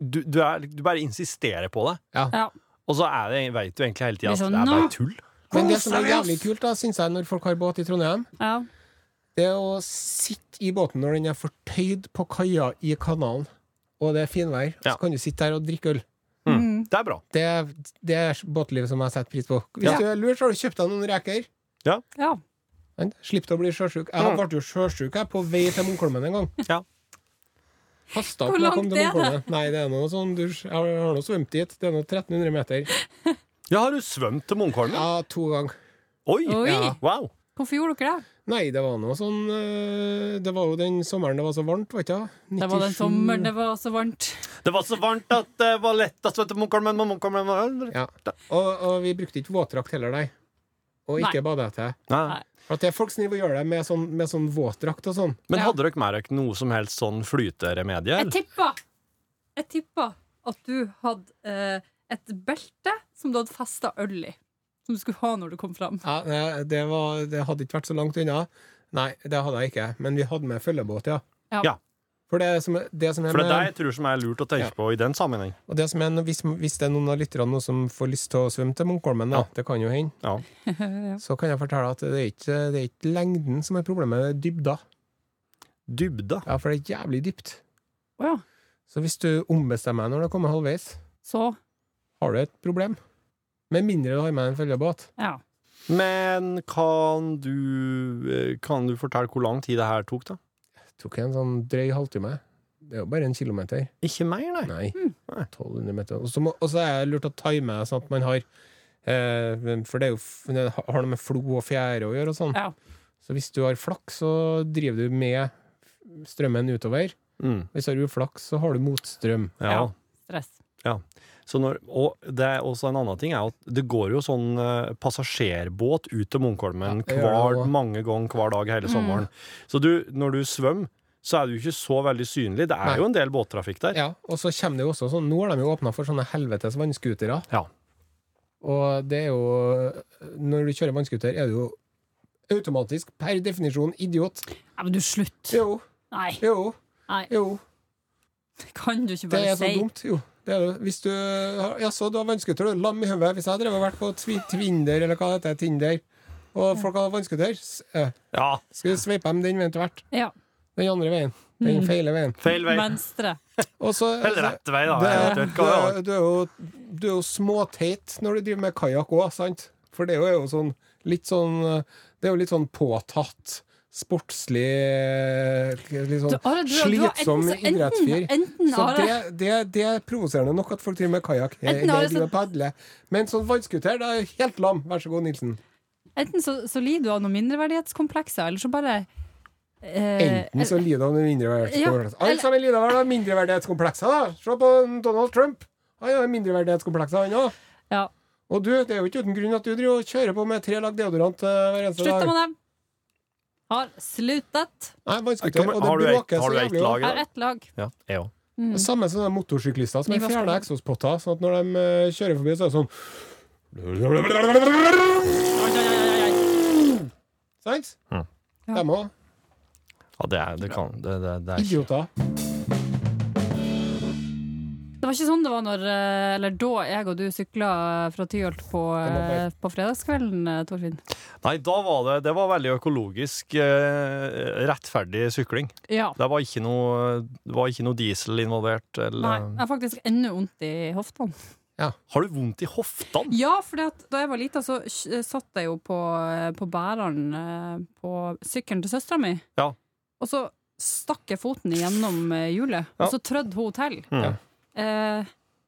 du, du, er, du bare insisterer på det, Ja. og så er det, vet du egentlig hele tida at Liksom, det er bare nå- tull. Men det som er jævlig kult, da, syns jeg, når folk har båt i Trondheim, Ja. det er å sitte i båten når den er fortøyd på kaia i kanalen, og det er finvær, Ja. så kan du sitte der og drikke øl. Mm. Det er bra. Det, er- det er båtlivet som jeg setter pris på. Hvis Ja. du er lur, så har du kjøpt deg noen reker. ja. Sant? Slipp til å bli sjøsjuk. Jeg ble jo sjøsjuk jeg, på vei til Munkholmen en gang. Mm. Ja. Hasta Hvor opp når jeg kom langt til er det? Munkholmen. Nei, det er noe sånn du, Jeg har nå svømt dit. Det er nå 1300 meter. Ja, har du svømt til Munkholmen? Ja, to ganger. Oi! Oi! Ja. Wow! Hvorfor gjorde dere det? Nei, det var noe sånn øh, Det var jo den sommeren det var så varmt, vet du. Det var den sommeren det var så varmt. Det var så varmt at det var lett å svømme til Munkholmen. men Munkholmen var- Ja. Og, og vi brukte ikke våtdrakt heller, nei. Og Nei. ikke badehette. Nei. For at det er folk som driver og gjør det med sånn, med sånn våtdrakt og sånn. Men Ja. hadde dere med dere noe som helst sånn flyteremedie? Jeg eller? tippa Jeg tippa at du hadde eh, et belte som du hadde festa øl i. Som du skulle ha når du kom fram. Ja, det- det, var, det hadde ikke vært så langt unna. Nei, det hadde jeg ikke. Men vi hadde med følgebåt, ja. Ja. Ja. For det som, det som er For det er det med, jeg tror som er lurt å tenke Ja. på i den sammenheng. og det som er, hvis, hvis det er noen av lytterne nå som får lyst til å svømme til Munkholmen, da, Ja. det kan jo hende, [LAUGHS] Ja. så kan jeg fortelle at det er ikke, det er ikke lengden som er problemet, det er dybda. Dybde. Ja, for det er jævlig dypt. Å ja. Så hvis du ombestemmer deg når du kommer halvveis, Så har du et problem. Med mindre du har med en følgebåt. Ja. Men kan du, eh, kan du fortelle hvor lang tid det her tok, da? Tok en sånn drøy halvtime. Det er jo bare en kilometer. Ikke mer, nei. Nei. 1200 meter. Og så må- og så er det lurt å time det sånn at man har eh, men- For det, er jo, f- det har noe med flo og fjære å gjøre og sånn. Ja. Så hvis du har flaks, så driver du med strømmen utover. Mm. Hvis du har uflaks, så har du motstrøm. Ja. Ja. Stress. Så når, og det er også en annen ting er at det går jo sånn eh, passasjerbåt ut til Munkholmen Ja, det gjør hver, det Mm. også. mange ganger hver dag hele sommeren. Så du, når du svømmer, så er du ikke så veldig synlig. Det er Nei. jo en del båttrafikk der. Ja, og så kommer det jo også sånn Nå har de jo åpna for sånne helvetes vannskutere. Ja. Og det er jo Når du kjører vannskuter, er du jo automatisk per definisjon idiot. Nei, men du, slutt! Jo, Nei. jo, Nei. jo. Kan du ikke Det bare er så si dumt, jo. Det er det. Hvis du har, jaså, du har vannskuter, du er lam i hodet. Hvis jeg hadde drevet og vært på Twi- Twinder, eller hva det heter, Tinder, og folk hadde vannskuter, s- eh, Ja, skulle sveipe dem den veien til hvert. Ja. Den andre veien. Den Mm. feile veien. feil vei. Venstre. Og så Eller rett vei, da. det Jeg er, vet du, ikke hva det er, du, er jo, du er jo småteit når du driver med kajakk òg, sant? For det er jo sånn litt sånn Det er jo litt sånn påtatt, sportslig litt sånn Du, Are, du- du har slitsom enten- idrettsfyr. enten- enten, Så Are- det, det, det er provoserende nok at folk driver med kajakk. Enten Are, så- Men sånn vannskuter, da er jeg helt lam. Vær så god, Nilsen. Enten så, så lider du av noen mindreverdighetskomplekser, eller så bare eh, Enten så lider han av mindreverdighetskomplekser. Ja, Alle sammen lider vel av mindreverdighetskomplekser, da! Se på Donald Trump. Han har mindreverdighetskomplekser, han òg. ja. Og du, det er jo ikke uten grunn at du driver og kjører på med tre lag deodorant eh, hver eneste Slutta dag. med det. Har sluttet. Nei, vannskuter. Kommer- Og det Har du ett bråker har så du ett jævlig. lag i Har dag? ett lag. Ja, jeg òg. også. Samme som de motorsyklister som Mm. Vi har var fjerna spennende. eksospotter, sånn at når de eh, kjører forbi, så er det sånn Sant? Mm. Dem òg. Ja, det er, det kan, det, det, det er ikke Idioter. Det var ikke sånn det var når, eh, eller da jeg og du sykla fra Tyholt på, eh, på fredagskvelden, eh, Torfinn. Nei, da var det, det var veldig økologisk, eh, rettferdig sykling. Ja. Det var ikke noe, det var ikke noe diesel involvert. Nei, Eller. jeg har faktisk ennå vondt i hoftene. Har du vondt i hoftene? Ja, for da jeg var lita, så eh, satt jeg jo på, eh, på bæreren eh, på sykkelen til søstera mi. Ja. Og så stakk jeg foten gjennom eh, hjulet, Ja. og så trødde hun til. Mm. Eh,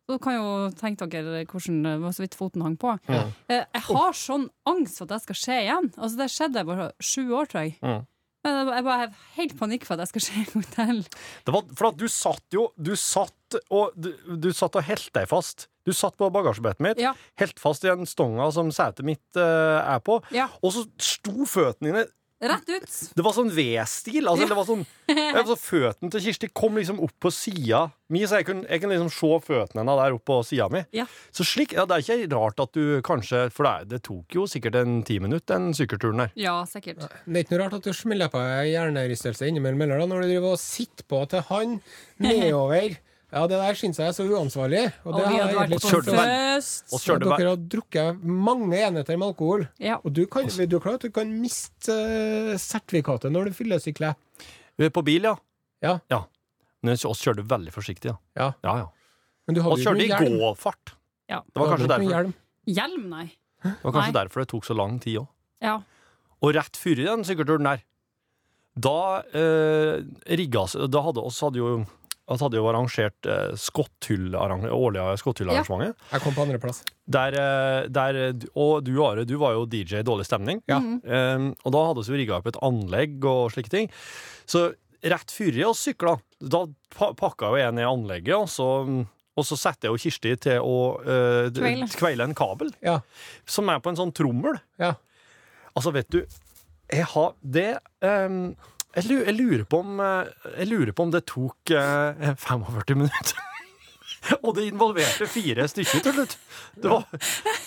så kan jo tenke dere hvordan det var så vidt foten hang på. Ja. Eh, jeg har sånn angst for at det skal skje igjen. Altså Det skjedde jeg var sju år, tror jeg. Mm. Men jeg- jeg bare har helt panikk for at det skal skje en gang til. Det var, for at du satt jo Du satt og, du, du satt og helt deg fast. Du satt på bagasjebrettet mitt, Ja. helt fast i den stonga som setet mitt eh, er på, Ja. og så sto føttene dine Rett ut! Det var sånn V-stil. Altså, det var sånn, altså, føttene til Kirsti kom liksom opp på sida mi, så jeg kunne, jeg kunne liksom se føttene hennes der oppe på sida mi. Ja. Så slik, ja, Det er ikke rart at du kanskje For det, er- det tok jo sikkert en ti minutt, den sykkelturen der. Ja, sikkert. Det er ikke noe rart at du smeller på ei hjernerystelse innimellom eller da, når du driver og sitter på til han nedover. Ja, det der syns jeg er så uansvarlig. Og Og det vi har hadde jeg vært egentlig på Kjørte du vel? fest. Og så kjørte dere du har drukket mange enheter med alkohol. Ja. Og du kan, du er klar at du kan miste eh, sertifikatet når du fyllesykler. bare- på bil, ja. Ja. Men oss kjørte veldig forsiktig, ja. Ja. ja, ja. Men du hadde Og jo ikke kjørte i noe hjelm. gåfart. Ja. Det var Du hadde kanskje ikke noe derfor hjelm. Hjelm, nei. det, var kanskje Nei. derfor det tok så lang tid òg. Ja. Og rett før i den sykkelturen der, da eh, rigga seg Da hadde oss hadde jo oss hadde jo arrangert eh, skotthyllarrang- årlige skotthyllarrangementet. Jeg kom på andreplass. Der, eh, der, du- og du, Are, du var jo DJ Dårlig stemning. Eh, og da hadde vi rigga opp et anlegg og slike ting. Så rett før vi sykla, da pa pakka jo jeg ned anlegget, og så, og så satte jeg jo Kirsti til å eh, d- Kveile. kveile en kabel, Ja. som er på en sånn trommel. ja. Altså, vet du Jeg har det ehm, jeg, lurer, jeg, lurer på om, eh, jeg lurer på om det tok eh, 45 minutter. [LAUGHS] Og det involverte fire stykker til slutt. Det var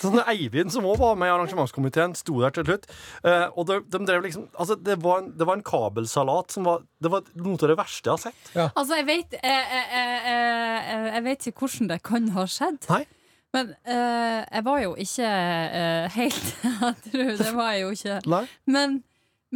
sånn Eivind, som òg var med i arrangementskomiteen, sto der til slutt. Eh, og de, de drev liksom Altså, det var en, det var en kabelsalat som var Det var noe av det verste jeg har sett. Altså, jeg vet, jeg, jeg, jeg, eh, jeg, jeg vet ikke hvordan det kan ha skjedd. Nei. Men eh, jeg var jo ikke eh, helt [LAUGHS] Jeg tror det var jeg jo ikke. Nei. Men,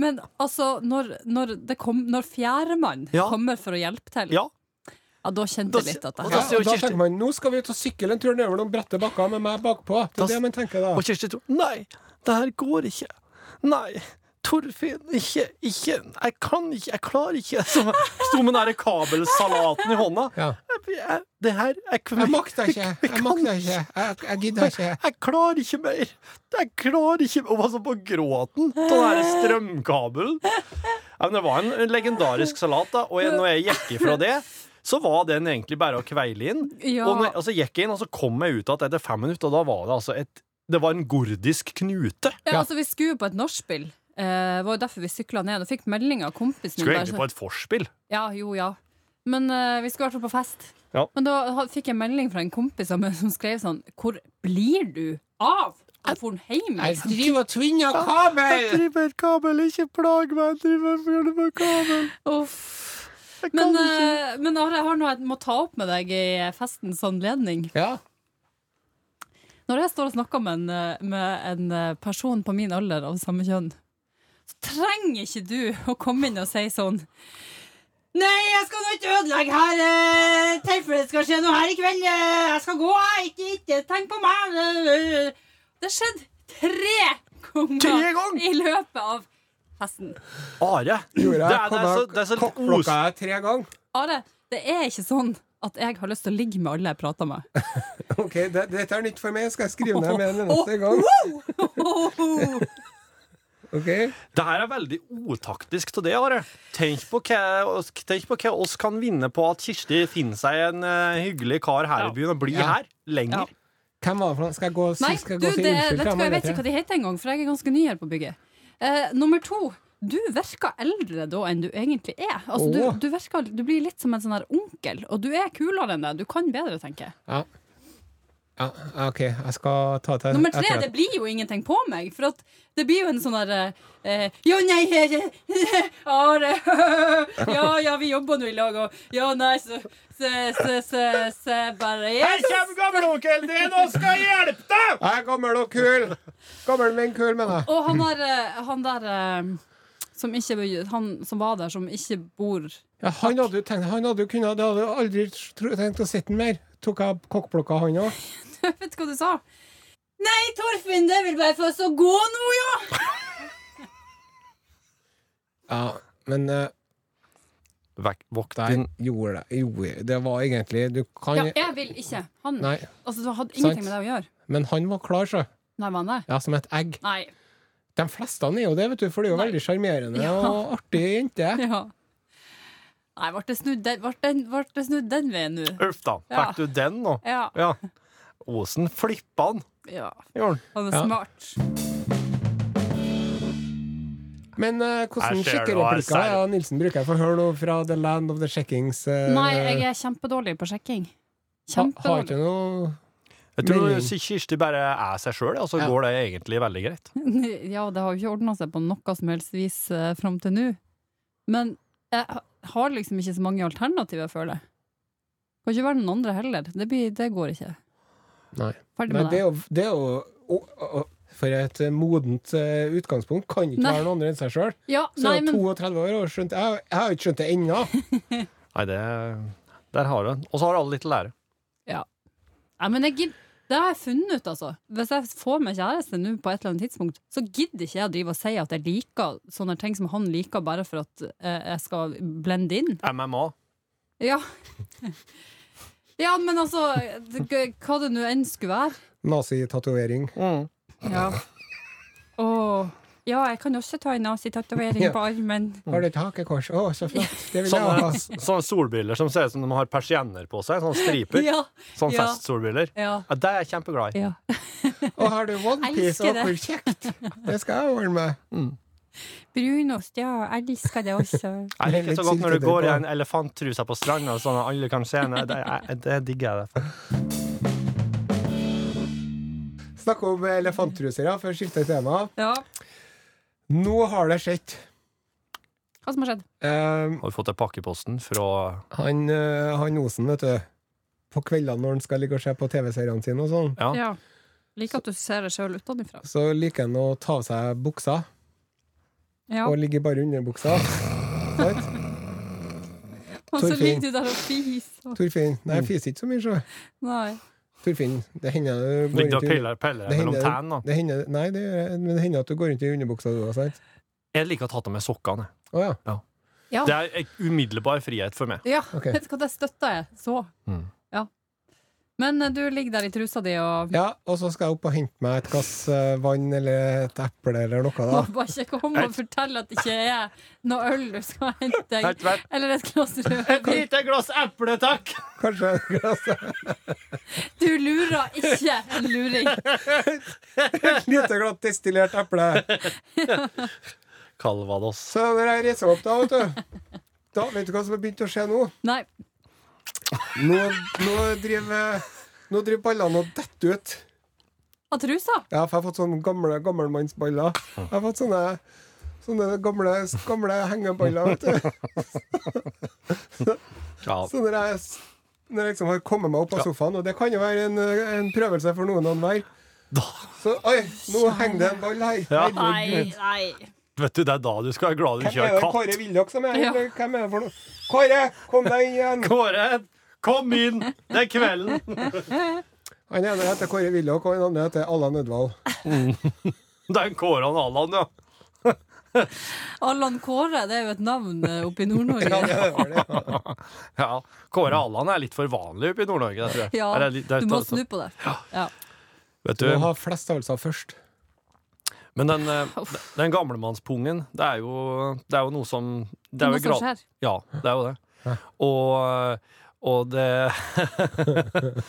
men altså, når, når, det kom- når fjerdemann Ja. kommer for å hjelpe til, Ja. ja, da Da kjente jeg litt s- at det og Ja, sier jo og da Kirsti- tenker man nå skal vi ut og sykle en tur nedover noen bratte bakker med meg bakpå. Det Da er det man tenker da. Og Kirsti tror Nei, det her går ikke. Nei. Torfinn, ikke, ikke Jeg kan ikke, jeg klarer ikke. [LAUGHS] Som sto med den der kabelsalaten i hånda. Ja. Jeg, jeg, det her Jeg, Jeg makter ikke. [LAUGHS] Jeg makter ikke. Jeg, jeg gidder ikke. Jeg klarer ikke mer! Jeg klarer ikke Hun var sånn på gråten av den her strømkabelen. Ja, men det var en legendarisk salat, da, og jeg, når jeg gikk ifra det, så var den egentlig bare å kveile inn. Ja. Og, når, og så gikk jeg inn, og så kom jeg ut igjen etter fem minutter, og da var det altså et Det var en gordisk knute. ja, altså, Vi skulle jo på et nachspiel. Eh, Det var jo derfor vi sykla ned og fikk melding av kompisen sånn Skulle der, egentlig så- på et forspill. Ja, jo, ja. Men eh, vi skulle i hvert fall på fest. Ja. Men da ha- fikk jeg melding fra en kompis som, som skrev sånn Hvor blir du av? Jeg for den hjem. Jeg liksom. driver og tvinner kabel! driver kabel, ikke plag meg! Jeg driver med kabel. Uff. Men, eh, men Are, jeg har noe jeg må ta opp med deg i festens anledning. Ja. Når jeg står og snakker med en, eh, med en eh, person på min alder av samme kjønn, så trenger ikke du å komme inn og si sånn Nei, jeg skal nå ikke ødelegge her, eh, tilfelle det skal skje noe her i kveld. eh, Jeg skal gå, jeg. Ikke, ikke tenk på meg. eh, eh». Det skjedde tre ganger Tre ganger? i løpet av festen. Are! Gjorde Det jeg er- det er så- det er så litt kokkblokka jeg tre ganger? Are, det er ikke sånn at jeg har lyst til å ligge med alle jeg prater med. Ok, det, Dette er nytt for meg. Skal jeg skrive ned med en eneste gang? Ok Det her er veldig otaktisk til det, Are. Tenk på hva tenk på hva oss kan vinne på at Kirsti finner seg en eh, hyggelig kar her i byen og blir her lenger. Hvem var det for noe? Skal jeg gå, Nei, skal jeg du, gå til det, er- innfylt, vet du da, hva, jeg vet Margrethe? ikke hva de heter engang, for jeg er ganske ny her på bygget. Eh, nummer to. Du virker eldre da enn du egentlig er. Altså, Åh. du, du, virker, du blir litt som en sånn her onkel, og du er kulere enn det. Du kan bedre, tenker jeg. Ja. ja, ok, jeg skal ta til Nummer jeg tre, tror det at- blir jo ingenting på meg, for at det blir jo en sånn der eh, Ja, nei, eh, eh, Are [LAUGHS] Ja, ja, vi jobber nå i lag, og ja, nei, så Så, så, så, så bare yes. gamleonkelen din og skal hjelpe deg! Jeg er gammel og kul! Gammel, men kul, mener jeg. Og han der, eh, han der eh, som, ikke, han som var der, som ikke bor [LAUGHS] Ja, han hadde jo tenkt, han hadde jo kunnet, det hadde jeg aldri tro- tenkt å sette den mer. Tok jeg kokkblokka han òg? Vet du hva du sa? Nei, Torfinn, det vil bare få oss å gå nå, ja! Ja, men eh, Vokt der din gjorde det gjorde- Det var egentlig Du kan Ja, jeg vil ikke. Han Nei. altså, det hadde Sant. ingenting med det å gjøre. Men han var klar, så. Nei, var han det? Ja, som et egg. Nei. [LAUGHS] De fleste er jo det, vet du, for det er jo Nei. veldig sjarmerende Ja. og artig jente. Ja. Nei, ble det snudd den, ble den, ble det snudd den veien nå? Uff da. Ja. Fikk du den nå? Ja. Ja. Åsen flippa han. ja. Gjorde han. Han er Ja. smart. Men eh, hvordan Jeg ser det, sjekkereplikker jeg ser er det. det Nilsen bruker? Jeg får høre noe fra The Land of the Checkings. eh, Nei, jeg er kjempedårlig på sjekking. ha, har Kjempedårlig. ikke noe Jeg tror Melding. Kirsti bare er seg sjøl, og så Ja. går det egentlig veldig greit. [LAUGHS] Ja, det har jo ikke ordna seg på noe som helst vis eh, fram til nå. Men jeg ha- har liksom ikke så mange alternativer, føler jeg. Kan ikke være noen andre heller. Det, blir, det går ikke. Nei. Ferdig Nei med det det. er jo, det er jo å- å- å, For et eh, modent eh, utgangspunkt. Kan ikke Nei. være noen andre enn seg sjøl. Ja, Så nei, er men 32 år og skjønt Jeg, jeg har jo ikke skjønt det ennå. [LAUGHS] Nei, det Der har du den. Og så har alle litt å lære. Ja, men jeg gid- det har jeg funnet ut, altså. Hvis jeg får meg kjæreste nå på et eller annet tidspunkt, så gidder ikke jeg å drive og si at jeg liker sånne ting som han liker, bare for at eh, jeg skal blende inn. MMA. Ja. [LAUGHS] ja, men altså, det- g- hva det nå enn skulle være. Nazitatovering. Ja. Åh. Ja, jeg kan også ta en nazitatovering Ja. på armen. Har du et hakekors? Å, så flott! Det vil jeg ha. Sånne, [LAUGHS] sånne solbriller som ser ut som de har persienner på seg. Sånne striper. Ja. sånn Sånne Ja. festsolbriller. Ja. Ja, det er jeg kjempeglad i. ja. Og har du onepiece? Elsker det. Hvor kjekt! Det skal jeg ordne meg. Brunost, ja. Jeg elsker det også. Jeg liker så godt når du Litt går i syltetøy på. en elefanttruse på stranda, sånn at alle kan se henne. Det, jeg- det digger jeg. det. Snakke om elefanttruser, ja, for å skifte tema. Ja. Nå har det skjedd. Hva som har skjedd? Eh, Har vi fått en pakkeposten fra han, eh, han Osen, vet du. På kveldene når han skal ligge og se på TV-seriene sine og sånn, Ja. Ja. Liker at du ser deg sjøl utenfra. så liker han å ta av seg buksa. Ja. og ligger bare under buksa. Sant? Og så Torfinn. ligger du der og fiser. Torfinn Nei, jeg fiser ikke så mye, så. Nei. Torfinn, det hender du går Ligger og rundt i piller, piller det mellom hender- tærne. da. det hender, Nei, det, gjør jeg, men det hender at du går rundt i underbuksa du òg, sant? Jeg liker å ta av meg sokkene. Å ja. Ja. Det er en umiddelbar frihet for meg. Ja, Ok. vet du hva, det støtter jeg så. Mm. Ja. Men eh, du ligger der i trusa di og ja. Og så skal jeg opp og hente meg et glass eh, vann eller et eple eller noe, må [LAUGHS] da. bare ikke komme og fortelle at det ikke er noe øl du skal hente Vent, deg. vent. Eller et glass rødvin. lite glass eple, takk! Kanskje et glass Du lurer ikke [LAUGHS] en luring. Et lite glatt destillert eple. Calvados. Så når jeg reiser meg opp, da, vet du Da, Vet du hva som har begynt å skje nå? Nei. Nå, nå driver Nå driver ballene og detter ut. Av trusa? Ja, for jeg har fått sånne gamle gammelmannsballer. Jeg har fått sånne Sånne gamle, gamle hengeballer, vet du. Ja, Så når jeg, s- når jeg liksom har kommet meg opp av sofaen, og det kan jo være en, eh, en prøvelse for noen og enhver Så oi, nå henger det en ball her. Ja. Nei, Herregud. nei. vet du, det er da du skal være glad du Hvem ikke er har det Kåre katt. Willoch som er her? Ja. eller Hvem er det for noe? Kåre, kom deg inn igjen! Kåre, kom inn! Det er kvelden! Han ene heter Kåre Willoch, og han andre heter Allan Ødvald. Det er Kåre og Allan, ja. Allan Kåre, det er jo et navn eh, oppe i Ja, Nord-Norge. det var det. ja. Kåre og Allan er litt for vanlig oppe i Nord-Norge, det tror jeg. Ja, Eller litt- det er- du må snu på det. Ja. Vet Du må du, ha flestavelsene først. men den, eh, den gamlemannspungen, det er jo, det er jo noe som Det er jo Noe som grad- skjer. Ja, det er jo det. Og, eh, og det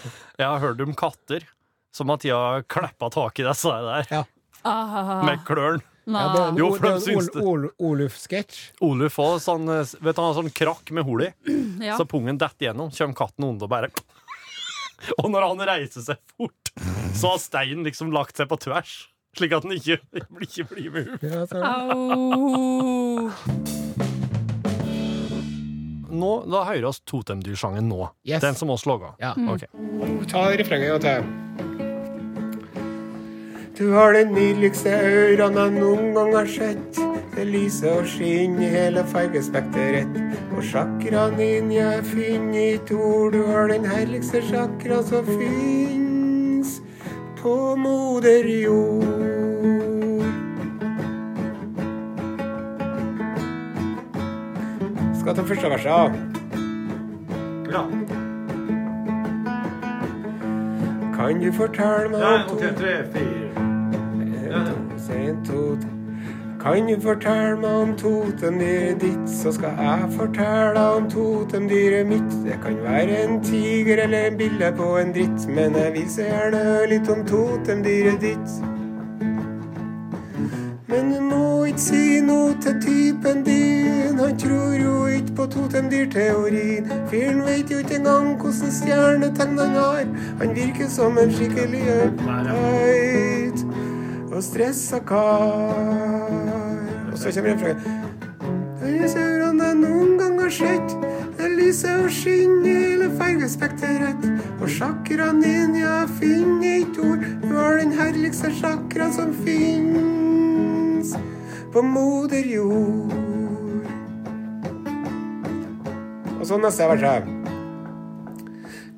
[LAUGHS] Jeg har hørt om katter som har tida kleppa tak i disse der Ah, med klørne. Ja, det er nei. en, Jo, o- for det de er en syns det. Ol- Ol- Oluf-sketsj. Oluf òg. Sånn, eh, vet du, han har sånn krakk med hull i, Ja. så pungen detter gjennom. Kommer katten under og bare [LAUGHS] Og når han reiser seg fort, så har steinen liksom lagt seg på tvers. Slik at den ikke, [LAUGHS] ikke blir med ut. Ja, så- Au. Nå, Da hører oss totemdyrsjangen nå. Yes. Den som oss laga. Ja. Mm. Ok. Ta refrenget en gang til. Du har de nydeligste ørene jeg noen gang har sett. Det lyser og skinner i hele fargespekteret. Og sjakraen din jeg finner i et ord. Du har den herligste sjakra som fins på moder jord. Skal ta første verset av. Kan du fortelle meg om to En, to, tre. Kan du fortelle meg om totemdyret ditt, så skal jeg fortelle deg om totemdyret mitt. Det kan være en tiger eller en bille på en dritt, men jeg vil så gjerne høre litt om totemdyret ditt. Men du må ikke si noe til typen din, han tror jo ikke på totemdyrteorien. Fyren vet jo ikke engang hvordan stjernetegn han har, han virker som en skikkelig øyt og stressa kar. Og så kommer refrenget. Det lyser hvordan det noen gang har sett. Det lyser og skinner i hele fargespekteret. Og sjakraen din, ja, jeg finner ikke ord. Du har den herligste sjakra som fins på moder jord. Og sånn, så neste vers her.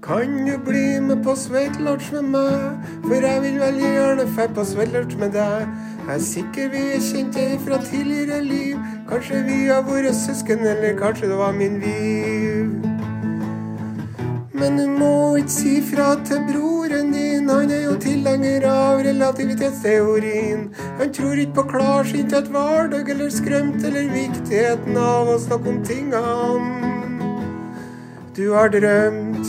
Kan du bli med på sveitlunsj med meg? For jeg vil veldig gjerne dra på sveitlunsj med deg. Jeg er sikker vi er kjente fra tidligere liv. Kanskje vi har vært søsken, eller kanskje det var min viv. Men du må ikke si fra til broren din, han er jo tilhenger av relativitetsteorien. Han tror ikke på klarsynthet, hverdag eller skrømt, eller viktigheten av å snakke om tinga du har drømt.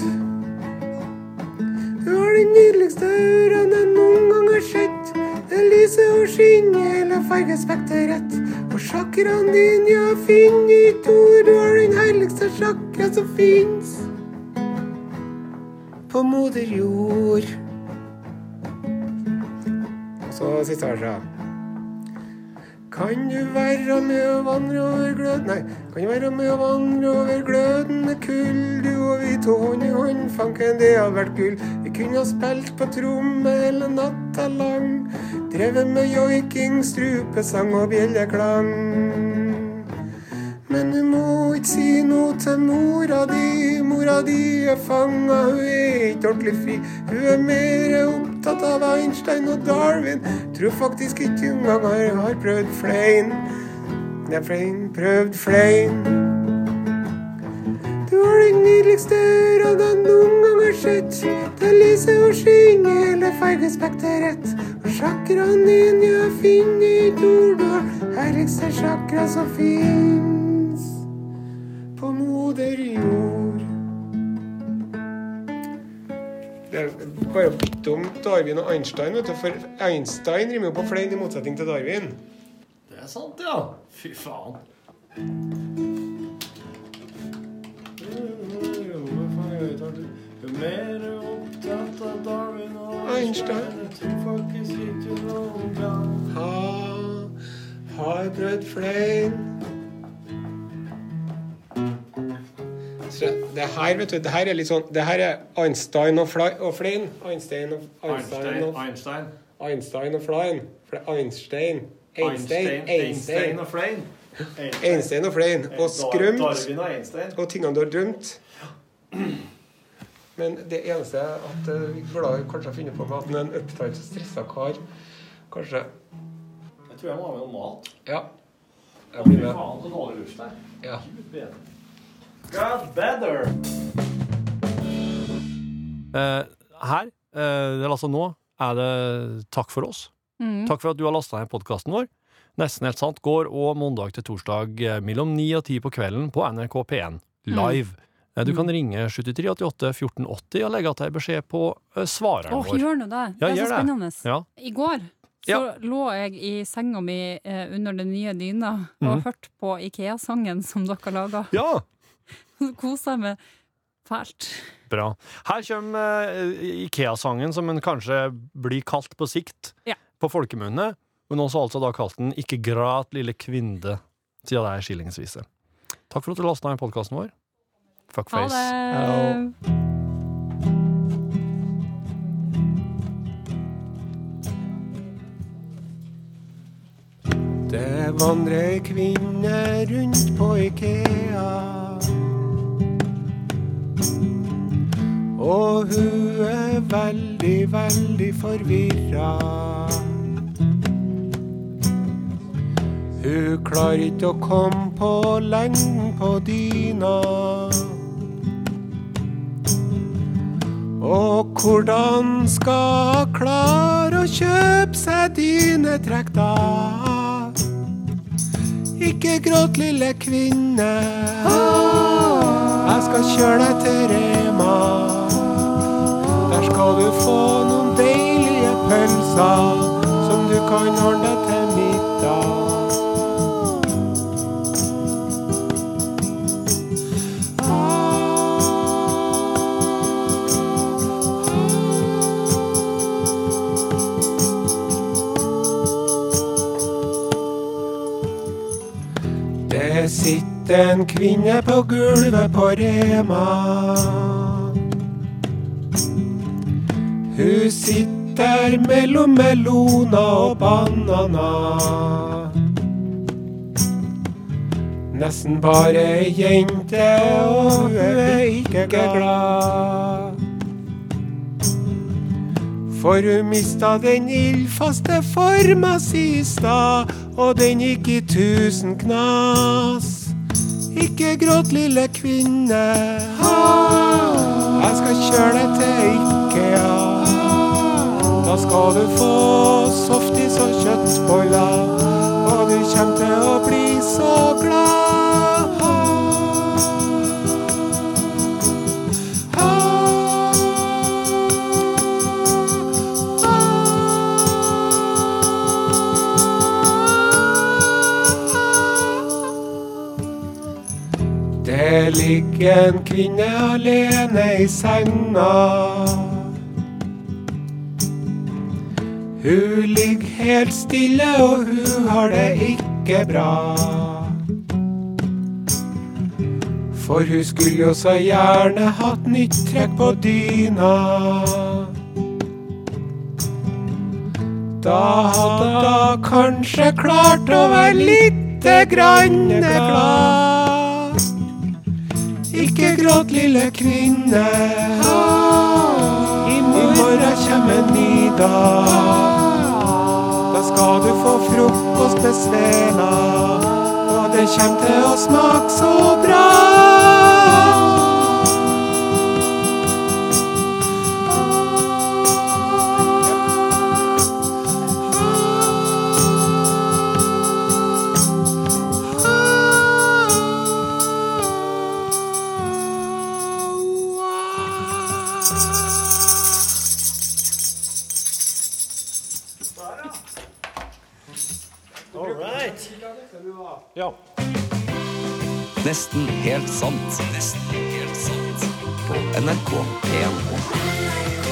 Du har de nydeligste ørene jeg noen gang har sett. Det lyser og skinner i hele fargespekteret. Og sjakraen din, ja, finn ditt ord. Du har den herligste sjakra som fins på moder jord. Og så siste verset. Kan du være med og vandre over gløden Nei, kan du være med og vandre over glødende kull? Du og vi to hånd i hånd, fanken, det hadde vært gull. Vi kunne ha spilt på tromme hele natta lang. Drevet med joiking, strupesang og bjelleklang. Men du må ikke si noe til mora di. Mora di er fanga, hun er ikke ordentlig fri. Hun er mer opptatt av Einstein og Darwin. Tror faktisk ikke hun engang har- har prøvd flein. Det er flein, prøvd flein. Du har den nydeligste øra jeg noen gang har sett. Det lyser og skinner i hele fargespekteret. Og sjakraen din, ja, finner ikke ord. Du har herligste sjakra som fins på moder jord. Det er bare dumt Darwin og Einstein, vet du, for Einstein rimer jo på flein i motsetning til Darwin. Det er sant, ja. Fy faen. Jo mer opptatt av Darwin og Einstein. tror faktisk ikke noe om Ha, har prøvd flere. Så Det her, vet du, det her er litt sånn Det her er Einstein og, Fly, og Flein. Einstein og, Einstein og, Einstein, Einstein og Flein. For det er Einstein. Einstein, Einstein, og Flein. Einstein og Flein. Og skrømt. og Einstein. Og tingene du har drømt. Men det eneste er at eh, vi glad i kanskje har funnet på med at han er en opptatt, stressa kar. Kanskje. Jeg tror jeg må ha med noe mat. Ja. Jeg blir med. faen, så dårlig luft her. Ja. God better! her, eh, eller altså nå, er det takk for oss. Takk for at du har lasta ned podkasten vår. Nesten helt sant går og mandag til torsdag eh, mellom 9 og 10 på kvelden på NRK P1 live. Eh, Du kan ringe 7388 1480 og legge til en beskjed på eh, svareren Å, vår. gjør nå det! Ja, Det er så gjør det. spennende. Ja. I går så Ja. lå jeg i senga mi eh, under den nye dyna og Mhm. hørte på Ikea-sangen som dere laga. [LAUGHS] ja! Kosa meg fælt. Bra. Her kommer eh, Ikea-sangen, som den kanskje blir kalt på sikt, Ja. på folkemunne. Men også altså da kalt den Ikke græt, lille kvinde, siden det er skillingsvise. Takk for at du lasta ned podkasten vår. Ha Fuckface. det! Au. Det vandrer kvinner rundt på Ikea. Og hun er veldig, veldig forvirra. Hun klarer ikke å komme på lengden på dyna. Og hvordan skal hun klare å kjøpe seg dynetrekk, da? Ikke gråt, lille kvinne. Jeg skal kjøre deg til Rema. Der skal du få noen deilige pølser som du kan ordne deg til middag. Det sitter en kvinne på gulvet på Rema. Hun sitter mellom melona og banana. Nesten bare ei jente, og hun er ikke glad. For hun mista den ildfaste forma si i stad, og den gikk i tusen knas. Ikke gråt, lille kvinne. Jeg skal kjøre deg til Ikea. Da skal du få softis og kjøttboller, og du kommer til å bli så glad. Det ligger en kvinne alene i senga. Hun ligger helt stille, og hun har det ikke bra. For hun skulle jo så gjerne hatt nytt trekk på dyna. Da hadde hun kanskje klart å være lite grann glad. Ikke gråt, lille kvinne. I morgen kommer en ny dag. Da skal du få frokost med svela, og det kommer til å smake så bra. Nesten helt sant. Nesten helt sant. På NRK 1